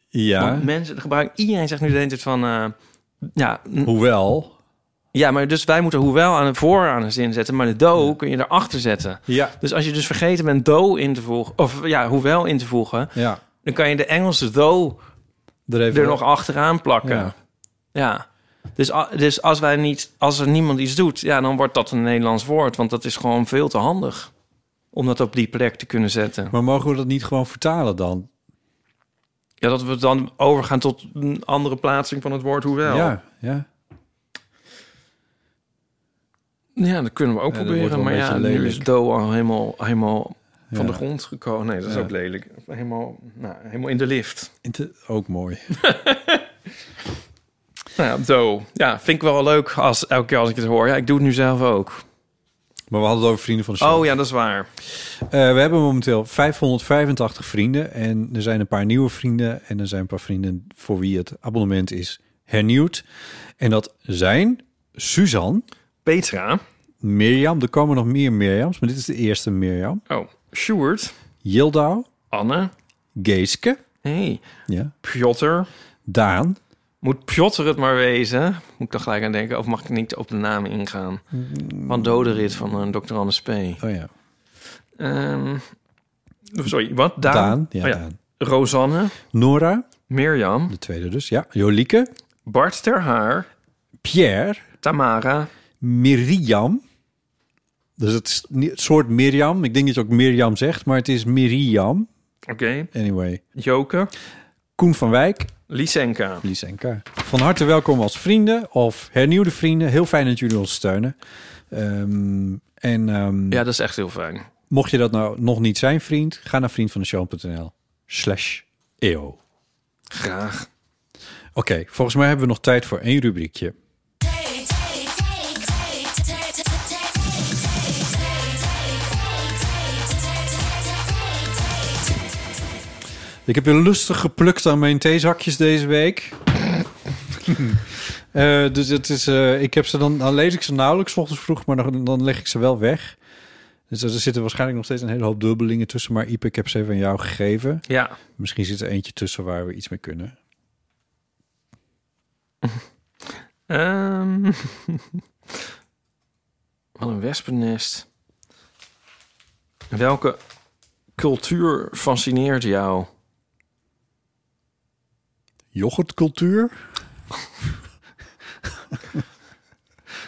ja. Want mensen gebruiken, iedereen zegt nu de hele tijd van, eh, ja, n- Hoewel. ja, maar dus wij moeten hoewel aan het voor aan een zin zetten, maar de though kun je erachter zetten. Ja. Dus als je dus vergeten bent though in te voegen, of ja, hoewel in te voegen, Ja. dan kan je de Engelse though Er, even, er nog achteraan plakken. Ja. Ja. Dus, a- dus als wij niet, als er niemand iets doet, ja, dan wordt dat een Nederlands woord. Want dat is gewoon veel te handig om dat op die plek te kunnen zetten. Maar mogen we dat niet gewoon vertalen dan? Ja, dat we dan overgaan tot een andere plaatsing van het woord hoewel. Ja, ja. ja dat kunnen we ook Ja, dat wordt wel proberen. een Maar ja, beetje nu lelijk. is do al helemaal, helemaal van Ja. de grond gekomen. Nee, dat is Ja. ook lelijk. Helemaal, nou, helemaal in de lift. Inte- Ook mooi. Nou ja, do. Ja, vind ik wel leuk als, elke keer als ik het hoor. Ja, ik doe het nu zelf ook. Maar we hadden het over vrienden van de show. Oh ja, dat is waar. Eh, we hebben momenteel 585 vrienden en er zijn een paar nieuwe vrienden en er zijn een paar vrienden voor wie het abonnement is hernieuwd. En dat zijn Suzanne, Petra. Mirjam, er komen nog meer Mirjams, maar dit is de eerste Mirjam. Oh, Sjoerd. Jildau, Anne. Geeske, hey, ja, Piotr. Daan, Moet Piotr het maar wezen? Moet ik dan gelijk aan denken? Of mag ik niet op de naam ingaan? Van Doderit van eh Dr. Anders P. oh ja, Ehm, sorry, wat? Daan? Daan, ja, Oh ja. Daan. Rosanne. Nora, Mirjam. de tweede dus, ja, Jolieke, Bart ter Haar. Pierre, Tamara. Miriam. Dus het is niet- het soort Mirjam. Ik denk dat je ook Mirjam zegt, maar het is Miriam. Oké. Anyway. Joke. Koen van Wijk, Lysenka. Lies en K. Van harte welkom als vrienden of hernieuwde vrienden. Heel fijn dat jullie ons steunen. Ehm, en ehm, Ja, dat is echt heel fijn. mocht je dat nou nog niet zijn, vriend, ga naar vriendvandeshow.nl slash eeuw. Oké, Graag. volgens mij hebben we nog tijd voor één rubriekje. Ik heb weer lustig geplukt aan mijn theezakjes deze week. Eh, dus het is, eh, ik heb ze dan, dan lees ik ze nauwelijks 's ochtends vroeg, maar dan, dan leg ik ze wel weg. Dus er zitten waarschijnlijk nog steeds een hele hoop dubbelingen tussen. Maar Ipe, ik heb ze even aan jou gegeven. Ja. Misschien zit er eentje tussen waar we iets mee kunnen. Ehm, wat een wespennest. Welke cultuur fascineert jou? Yoghurtcultuur?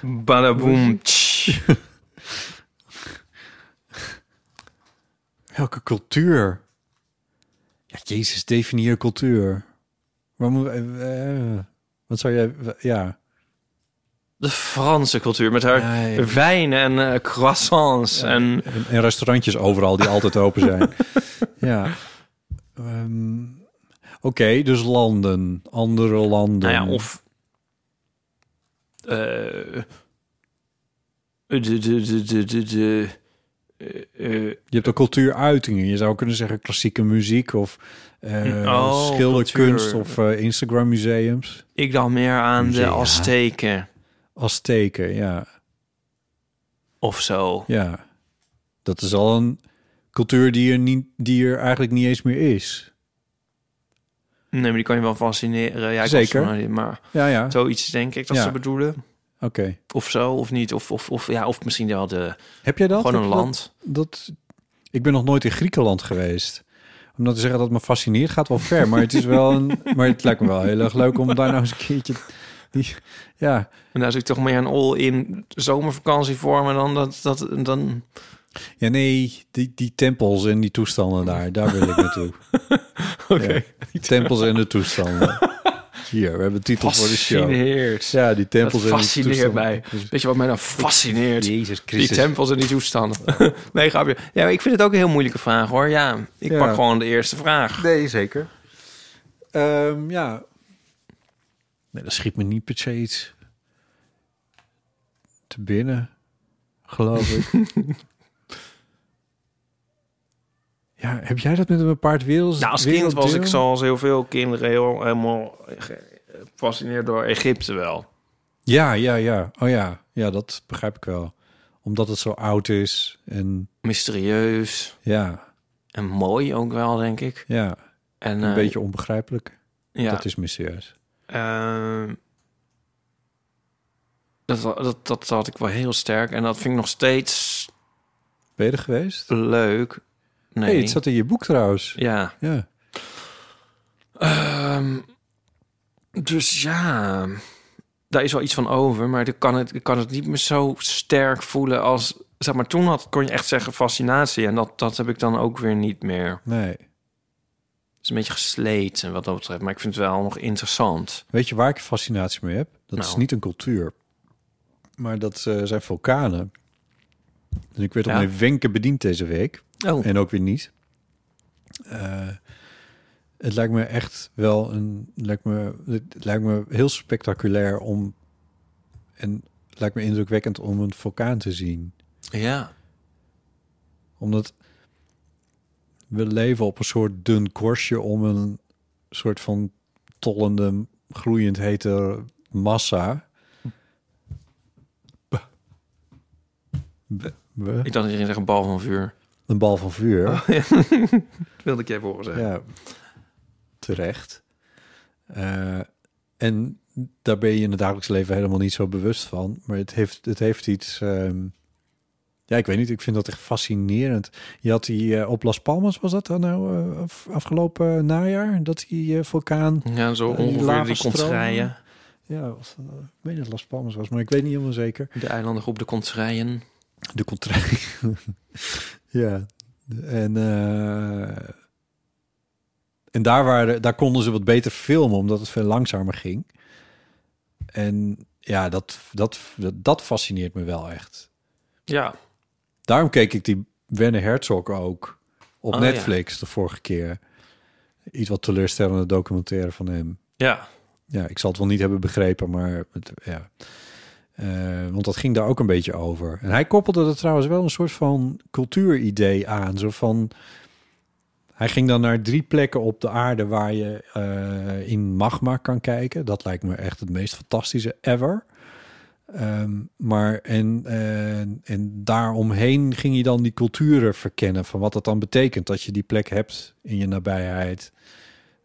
Badaboom. tsch. Welke cultuur? Ja, Jezus, definieer cultuur. Waar moet, eh, eh, wat zou jij... Ja, De Franse cultuur met haar Nee. wijn en eh, croissants. En En, en restaurantjes overal die altijd open zijn. ja. Ehm, Oké, dus landen. Andere landen. nou ja, of. eh, de, de, de, de, de, de, eh, eh, Je hebt ook cultuuruitingen. Je zou kunnen zeggen klassieke muziek of eh, Oh, schilderkunst cultuur. of eh, Instagram museums. ik dacht meer aan de Musea. Azteken Azteken, ja. of zo. ja. Dat is al een cultuur die er, niet, die er eigenlijk niet eens meer is. Nee, maar die kan je wel fascineren. Ja, ik Zeker. was er nog niet, maar Ja, ja. Oké. zoiets denk ik dat Ja. ze bedoelen. Of zo, of niet. Of, of, of, ja, of misschien wel de, Heb jij dat? gewoon Heb een je dat- land. dat, ik ben nog nooit in Griekenland geweest. Om dan te zeggen dat het me fascineert, gaat wel ver. Maar het, is wel een, maar het lijkt me wel heel erg leuk om daar nou eens een keertje Die, ja, En daar zit ik toch meer een all-in zomervakantie voor me dan dat, dat dan. ja, nee, die, die tempels en die toestanden daar, daar wil ik naartoe. Oké. Ja, die tempels en de toestanden. Hier, we hebben een titel voor de show. Fascineert. Ja, die tempels dat en de fascineert toestanden. mij. Weet je wat mij nou fascineert? Jezus Die Christus. tempels en die toestanden. nee, grapje. Ja, maar ik vind het ook een heel moeilijke vraag hoor. Ja, ik Ja. pak gewoon de eerste vraag. Nee, zeker. Ehm, ja. Nee, dat schiet me niet per se iets te binnen, geloof ik. ja, heb jij dat met een bepaard wereld? Nou, als kind was ik zoals heel veel kinderen heel, helemaal ge- gefascineerd door Egypte wel. Ja, ja, ja. Oh ja, ja, dat begrijp ik wel. Omdat het zo oud is en Mysterieus ja, en mooi ook wel, denk ik. ja, En, eh, een beetje onbegrijpelijk. Ja, Dat is mysterieus. Ehm, dat, dat, dat had ik wel heel sterk. En dat vind ik nog steeds Ben je er geweest? leuk. Nee. Nee, het zat in je boek trouwens. Ja. Ja. Ehm, dus ja, daar is wel iets van over. Maar ik kan het, ik kan het niet meer zo sterk voelen als... Zeg maar, toen had, kon je echt zeggen fascinatie. En dat, dat heb ik dan ook weer niet meer. Nee. Het is een beetje gesleten wat dat betreft. Maar ik vind het wel nog interessant. Weet je waar ik fascinatie mee heb? Dat is Nou. niet een cultuur, maar dat eh, zijn vulkanen. Dus ik werd op Ja. mijn wenken bediend deze week. Oh, En ook weer niet. Eh, het lijkt me echt wel een. het Lijkt me, het lijkt me heel spectaculair om. En het lijkt me indrukwekkend om een vulkaan te zien. ja. Omdat we leven op een soort dun korstje om een soort van tollende, gloeiend hete massa. B- b- b- Ik dacht dat je ging zeggen bal van vuur. Een bal van vuur. Oh, Dat wilde ik je even horen zeggen. Ja, terecht. Eh, en daar ben je in het dagelijks leven helemaal niet zo bewust van. Maar het heeft, het heeft iets... ehm, ja, ik weet niet. Ik vind dat echt fascinerend. Je had die eh, op Las Palmas, was dat dan nou eh, af- afgelopen najaar? Dat die eh, vulkaan... Ja, zo Eh, die ongeveer die lavastroom. kontrijen. Ja, was, dat- eh, ik weet niet of het Las Palmas was, maar ik weet niet helemaal zeker. De eilandengroep de kontrijen. De contraire. ja. En, eh, en daar, waren, daar konden ze wat beter filmen, omdat het veel langzamer ging. En ja, dat, dat, dat, dat fascineert me wel echt. Ja. Daarom keek ik die Werner Herzog ook op Oh, Netflix de vorige keer. Iets wat teleurstellende documentaire van hem. Ja. Ja, ik zal het wel niet hebben begrepen, maar het- ja. Eh, want dat ging daar ook een beetje over. En hij koppelde er trouwens wel een soort van cultuuridee aan. Zo van. Hij ging dan naar drie plekken op de aarde waar je eh, in magma kan kijken. Dat lijkt me echt het meest fantastische ever. Ehm, maar en, en, en daaromheen ging je dan die culturen verkennen. Van wat dat dan betekent dat je die plek hebt in je nabijheid.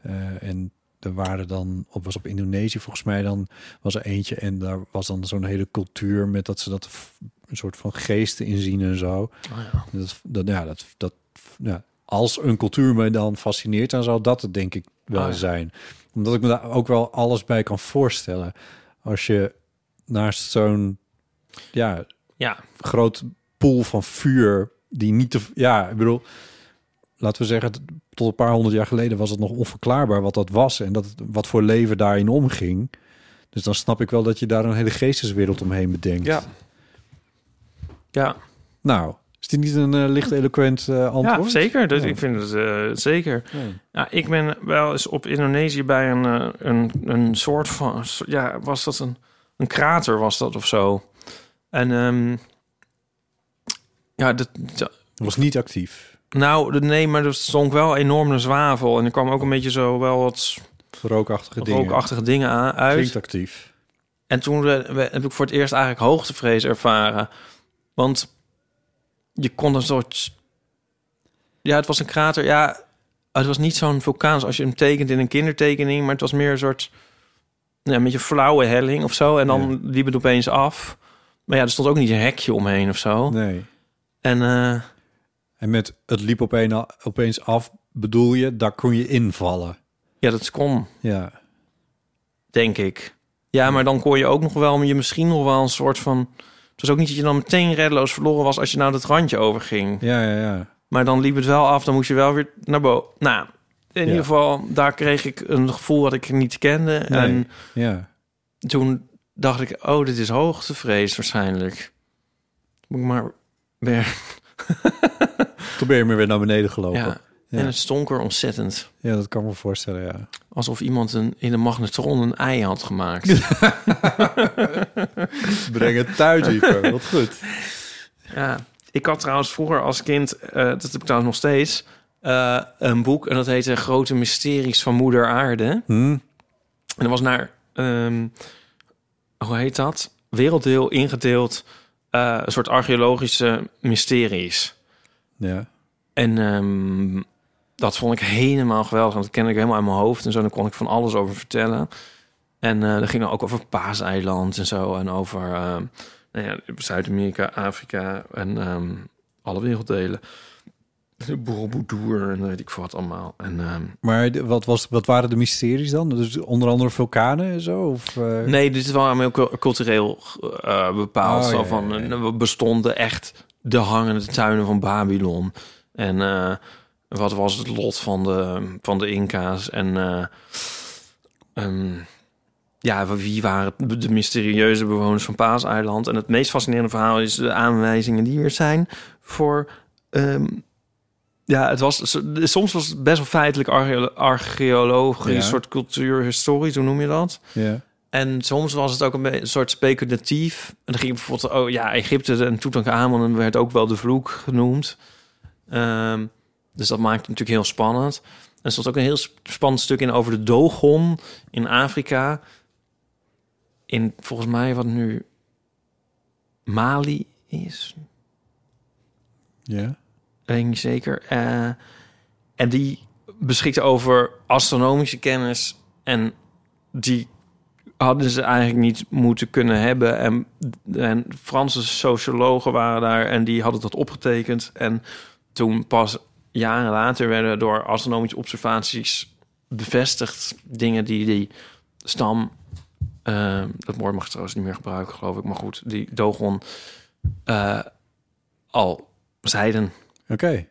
Eh, en er waren dan, op was op Indonesië volgens mij dan, was er eentje en daar was dan zo'n hele cultuur met dat ze dat f- een soort van geesten inzien en zo. En Dat, dat, ja, dat, dat, ja, als een cultuur mij dan fascineert, dan zou dat het denk ik wel Ah, ja. zijn. Omdat ik me daar ook wel alles bij kan voorstellen. Als je naast zo'n ja, Ja. groot pool van vuur die niet te... Ja, ik bedoel, laten we zeggen, t- tot een paar honderd jaar geleden was het nog onverklaarbaar wat dat was en dat, wat voor leven daarin omging. Dus dan snap ik wel dat je daar een hele geesteswereld omheen bedenkt. Ja. Ja. Nou, is dit niet een eh, licht eloquent eh, antwoord? Ja, zeker. Dus Ja. ik vind het eh, zeker. Ja. Ja, ik ben wel eens op Indonesië bij een, eh, een, een soort van... Ja, was dat een, een krater was dat of zo? En ehm, ja, dat, dat- Was niet actief. nou, dat- nee, maar er stond wel enorme zwavel. En er kwam ook een beetje zo wel wat Rookachtige dingen. rookachtige dingen aan, uit. Klinkt actief. En toen we- we- heb ik voor het eerst eigenlijk hoogtevrees ervaren. Want je kon een soort... Ja, het was een krater. Ja, het was niet zo'n vulkaan zoals als je hem tekent in een kindertekening. Maar het was meer een soort... Ja, een beetje flauwe helling of zo. En dan liep het opeens af. Maar ja, er stond ook niet een hekje omheen of zo. Nee. En eh, En met het liep opeen al- opeens af, bedoel je, daar kon je invallen. ja, dat kon, Ja. denk ik. Ja, maar dan kon je ook nog wel, je misschien nog wel een soort van... Het was ook niet dat je dan meteen reddeloos verloren was als je nou dat randje overging. Ja, ja, ja. Maar dan liep het wel af, dan moest je wel weer naar boven. Nou, in Ja. ieder geval, daar kreeg ik een gevoel dat ik niet kende. Nee. En ja. toen dacht ik, oh, dit is hoogtevrees waarschijnlijk. Moet ik maar weer... Toen ben je maar weer naar beneden gelopen. Ja. Ja, En het stonk er ontzettend. dat kan ik me voorstellen, ja. Alsof iemand een, in de magnetron een ei had gemaakt. Breng het thuis, Ivo. Wat goed. ja. Ik had trouwens vroeger als kind, eh, dat heb ik trouwens nog steeds... eh, een boek en dat heette Grote Mysteries van Moeder Aarde. Hm? En dat was naar, ehm, hoe heet dat? Werelddeel ingedeeld, eh, een soort archeologische mysteries. Ja. En ehm, dat vond ik helemaal geweldig. Want dat kende ik helemaal uit mijn hoofd. En zo, daar kon ik van alles over vertellen. En eh dat ging dan ook over Paaseiland en zo. En over ehm, nou ja, Zuid-Amerika, Afrika en ehm, alle werelddelen. De Borobudur en weet ik veel wat allemaal. En, ehm, Maar de- wat, was, wat waren de mysteries dan? Dus onder andere vulkanen en zo? Of, eh, Nee, dit is wel allemaal cul- cultureel eh, bepaald. Oh, zo ja, van, ja, ja. eh, bestonden echt de hangende tuinen van Babylon? En eh, wat was het lot van de, van de Inca's? En eh, ehm, ja, wie waren de mysterieuze bewoners van Paaseiland? En het meest fascinerende verhaal is de aanwijzingen die er zijn voor... ehm, ja, het was, soms was het best wel feitelijk archeolo- archeologisch, Ja. soort cultuurhistorisch, hoe noem je dat? Ja. En soms was het ook een, be- een soort speculatief. En dan ging bijvoorbeeld, oh ja, Egypte en Tutankhamon werd ook wel de vloek genoemd. Ehm, dus dat maakt het natuurlijk heel spannend. En er stond ook een heel sp- spannend stuk in over de Dogon in Afrika. In volgens mij wat nu Mali is. ja. Weet ik niet zeker. Eh, en die beschikte over astronomische kennis. En die hadden ze eigenlijk niet moeten kunnen hebben. En, en Franse sociologen waren daar en die hadden dat opgetekend. En toen pas jaren later werden door astronomische observaties bevestigd dingen die die stam... eh, dat woord mag ik trouwens niet meer gebruiken, geloof ik. Maar goed, die Dogon eh, al zeiden. Oké.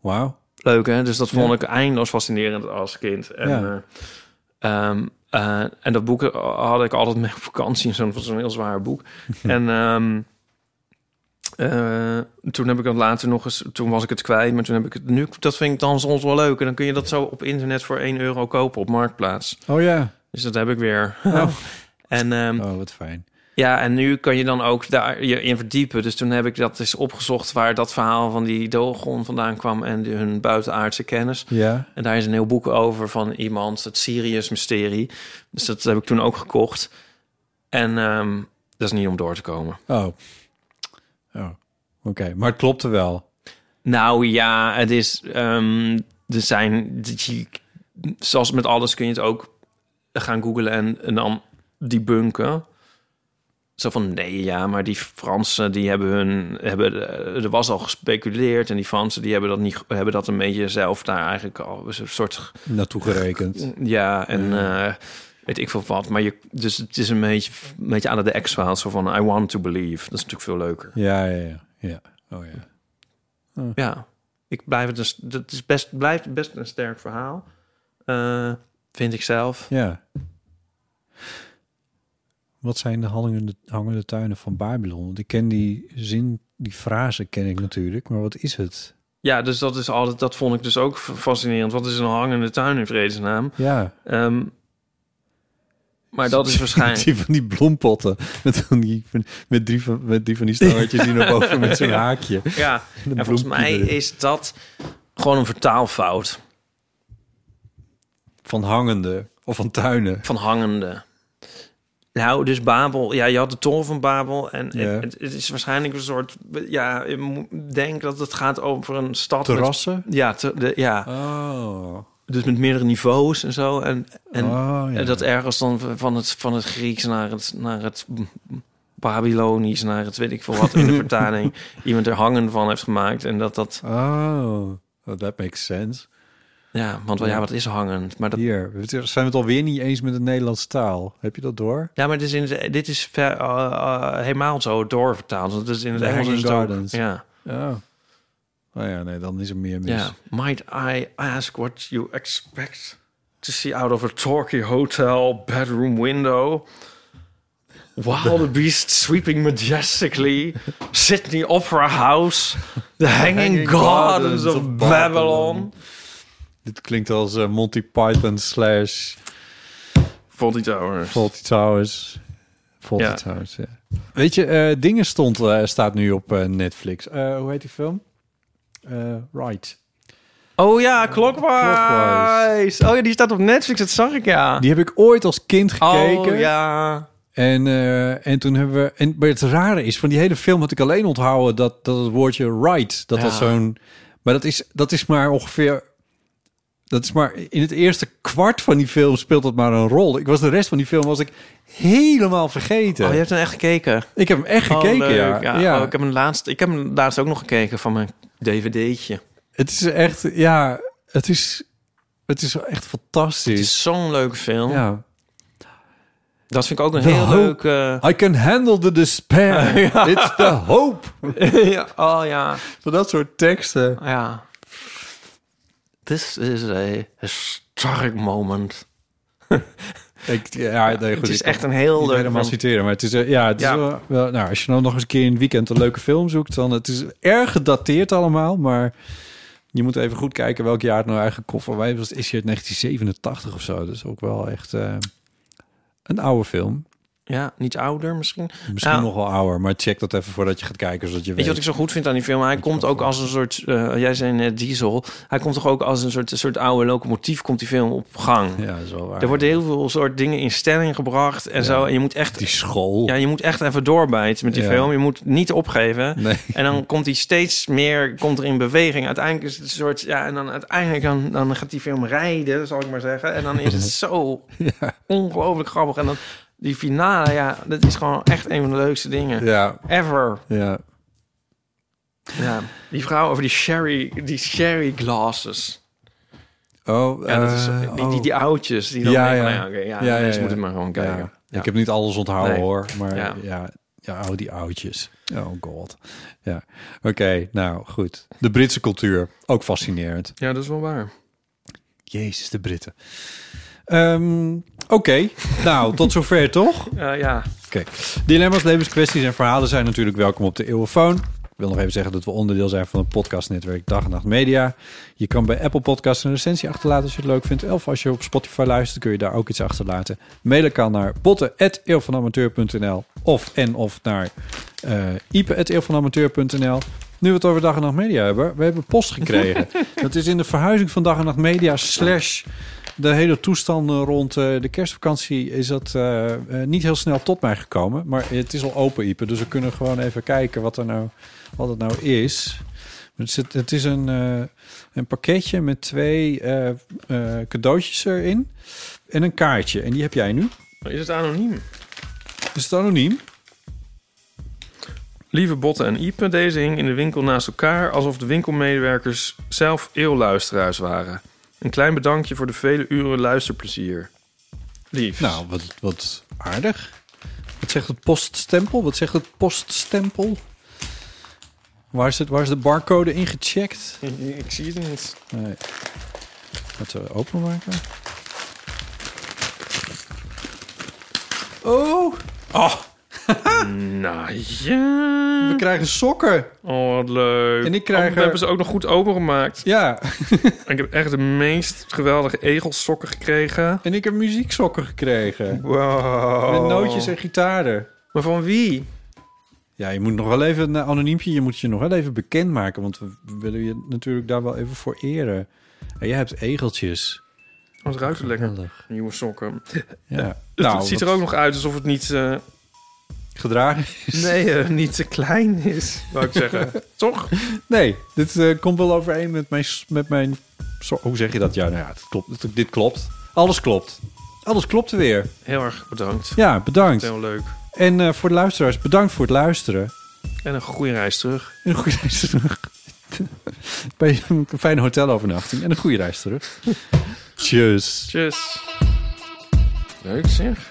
Wauw. Leuk, hè? Dus dat vond Ja. ik eindeloos fascinerend als kind. En, Ja. eh, ehm, eh, en dat boek had ik altijd mee op vakantie. en Zo'n zo'n heel zwaar boek. en ehm, eh, toen heb ik dat later nog eens... Toen was ik het kwijt, maar toen heb ik het... Nu, dat vind ik dan soms wel leuk. En dan kun je dat zo op internet voor 1 euro kopen op Marktplaats. Oh ja. Dus dat heb ik weer. Oh. en ehm, Oh, wat fijn. ja, en nu kan je dan ook daar je in verdiepen. Dus toen heb ik dat eens opgezocht waar dat verhaal van die Dogon vandaan kwam en die- hun buitenaardse kennis. Ja. En daar is een heel boek over van iemand, het Sirius Mysterie. Dus dat heb ik toen ook gekocht. En ehm, dat is niet om door te komen. Oh. Oh. Oké. Maar het klopte wel. Nou ja, het is. ehm, er zijn. je- Zoals met alles kun je het ook gaan googlen en, en dan debunken. Zo van nee, ja, maar die Fransen die hebben hun. Hebben, eh, er was al gespeculeerd en die Fransen die hebben dat, niet, hebben dat een beetje zelf daar eigenlijk al. Een soort. Naartoe gerekend. Ja, en. eh, Weet ik veel wat, maar je, dus het is een beetje, een beetje aan de X-Files zo van I want to believe. Dat is natuurlijk veel leuker. Ja, ja, ja. ja. Oh ja. Ja, ik blijf het dus. Dat is best, blijft best een sterk verhaal. Eh, vind ik zelf. Ja. Wat zijn de hangende, hangende tuinen van Babylon? Want ik ken die zin, die frase ken ik natuurlijk, maar wat is het? Ja, dus dat is altijd. Dat vond ik dus ook f- fascinerend. Wat is een hangende tuin in vredesnaam? Ja, Ehm, maar dat is waarschijnlijk. die van die bloempotten met, van die, van- met, drie, van, met drie van die staartjes die naar boven met zo'n haakje. Ja, en volgens mij bloempje erin. is dat gewoon een vertaalfout Van hangende of van tuinen. van hangende. Nou, dus Babel. Ja, je had de toren van Babel. En en Ja. het, het is waarschijnlijk een soort. Ja, ik moet- denk dat het gaat over een stad. met- Terrassen? ja, te- de, ja. Oh. dus met meerdere niveaus en zo. En, en, Oh, ja. en dat ergens dan van het, van het Grieks naar het, naar het Babylonisch, naar het weet ik veel wat in de vertaling. iemand er hangen van heeft gemaakt. En dat dat. Oh, well, that makes oh, sense. Ja, want wel, ja, wat is hangend? Maar dat, Hier, we zijn we het alweer niet eens met de Nederlandse taal. Heb je dat door? ja, maar dit is, in het- dit is ver- eh, eh, helemaal zo doorvertaald. Want het is in het The Engels is Hanging het ook- Gardens. Ja, Oh. Nou ja, nee, dan is er meer mis. ja. Might I ask what you expect to see out of a Torquay hotel bedroom window? Wild beast sweeping majestically, Sydney Opera House, the hanging, Hanging gardens, Gardens of, of Babylon. Babylon. Dit klinkt als eh, Monty Python slash Faulty Towers. Faulty Towers. Faulty Ja. Towers, ja. Weet je, eh, Dingen stond, eh, staat nu op eh, Netflix. Eh, hoe heet die film? Eh, right. Oh ja, Clockwise. Oh ja, die staat op Netflix, dat zag ik ja. Die heb ik ooit als kind gekeken. Oh ja. En, eh, en toen hebben we... En, maar het rare is, van die hele film had ik alleen onthouden... dat, dat het woordje right, dat dat Ja. zo'n... Maar dat is, dat is maar ongeveer... Dat is maar... In het eerste kwart van die film speelt dat maar een rol. Ik was de rest van die film was ik helemaal vergeten. Oh, je hebt hem echt gekeken. Ik heb hem echt gekeken, Oh, leuk. ja. ja. Ja. oh, ik, heb hem laatst, ik heb hem laatst ook nog gekeken van mijn dvd'tje. Het is echt... Ja, het is... Het is echt Het fantastisch. is zo'n leuke film. ja. Dat vind ik ook een De heel hoop. leuk... eh, I can handle the despair. It's the hope. ja, oh ja, Van dat soort teksten. ja. This is a historic moment. Ik, ja, nee, goed, het is ik echt kan een heel niet leuk... helemaal van- citeren, maar het is, eh, ja, het Ja. is wel, wel- nou, als je nou nog eens een keer in het weekend een leuke film zoekt, dan het is erg gedateerd allemaal, maar je moet even goed kijken welk jaar het nou eigen koffer wij was. Is hier het 1987 of zo? Dat is ook wel echt eh, een oude film. Ja, niet ouder misschien. Misschien Ja. nog wel ouder, maar check dat even voordat je gaat kijken, zodat je Weet weet. je wat ik zo goed vind aan die film? Hij komt ook als een soort, eh, jij zei net diesel. Hij komt toch ook als een soort, een soort oude locomotief, komt die film op gang. Ja, dat is wel waar. Er worden heel veel soort dingen in stelling gebracht en zo. En je moet echt, Die school. ja, je moet echt even doorbijten met die Ja. film. Je moet niet opgeven. Nee. En dan komt hij steeds meer komt er in beweging. Uiteindelijk is het een soort, ja, en dan uiteindelijk dan, dan gaat die film rijden, zal ik maar zeggen. En dan is het zo ongelooflijk grappig. En dan die finale, ja, dat is gewoon echt een van de leukste dingen. Ja, Ever. ja. Ja, die vrouw over die sherry, die sherry glasses. Oh, Ja, dat is, eh, die, die, oh. die oudjes. Die dan Ja, denken, ja. nou ja, oké, ja, Ja, ja, mensen ja. moeten maar gewoon kijken. Ja. Ja. Ik heb niet alles onthouden Nee. hoor, maar ja. Ja. ja, oh, die oudjes. Oh god. Ja. Oké, nou goed. De Britse cultuur, ook fascinerend. Ja, dat is wel waar. Jezus, de Britten. Ehm, Oké, nou tot zover toch? Eh, ja, Oké. Dilemma's, levenskwesties en verhalen zijn natuurlijk welkom op de Eeuwenfoon. Ik wil nog even zeggen dat we onderdeel zijn van het podcastnetwerk Dag en Nacht Media. Je kan bij Apple Podcasts een recensie achterlaten als je het leuk vindt. Of als je op Spotify luistert, kun je daar ook iets achterlaten. Mailen kan naar botten.eeuwvanamateur.nl of en of naar eh ipe.eeuwvanamateur.nl. Nu we het over Dag en Nacht Media hebben, we hebben post gekregen. dat is in de verhuizing van Dag en Nacht Media slash de hele toestanden rond eh, de kerstvakantie is dat eh, eh, niet heel snel tot mij gekomen. Maar het is al open, Ipe. Dus we kunnen gewoon even kijken wat, er nou, wat het nou is. Het is, het is een, eh, een pakketje met twee eh, eh, cadeautjes erin. En een kaartje. En die heb jij nu. is het anoniem? Is het anoniem? Lieve Botten en Ipe, deze hing in de winkel naast elkaar... alsof de winkelmedewerkers zelf eeuwluisteraars waren. Een klein bedankje voor de vele uren luisterplezier. Lief. Nou, wat, wat aardig. Wat zegt het poststempel? Wat zegt het poststempel? Waar is, het, waar is de barcode ingecheckt? ik, ik zie het niet. Nee. Laten we openmaken. Oh! Oh, Nou ja. we krijgen sokken. Oh, wat leuk. En ik krijg Oh, er- we hebben ze ook nog goed opengemaakt. Ja, Ik heb echt de meest geweldige egelsokken gekregen. en ik heb muzieksokken gekregen. Wow. Met nootjes en gitaren. Maar van wie? Ja, je moet nog wel even een anoniempje. Je moet je nog wel even bekendmaken. Want we willen je natuurlijk daar wel even voor eren. En jij hebt egeltjes. Oh, het ruikt het lekker. Geweldig. Nieuwe sokken. Ja. Nou, het ziet er wat ook nog uit alsof het niet, eh, gedragen is. nee, eh, niet te klein is, wou ik zeggen. Toch? Nee, dit eh, komt wel overeen met mijn, s- met mijn... zo- Hoe zeg je dat? Ja, nou ja, het klopt. Het- dit klopt. Alles klopt. Alles klopt weer. Heel erg bedankt. Ja, bedankt. Heel leuk. En eh, voor de luisteraars, bedankt voor het luisteren. En een goede reis terug. En een goede reis terug. bij een fijne hotelovernachting en een goede reis terug. Tjus. Tjus. Leuk zeg.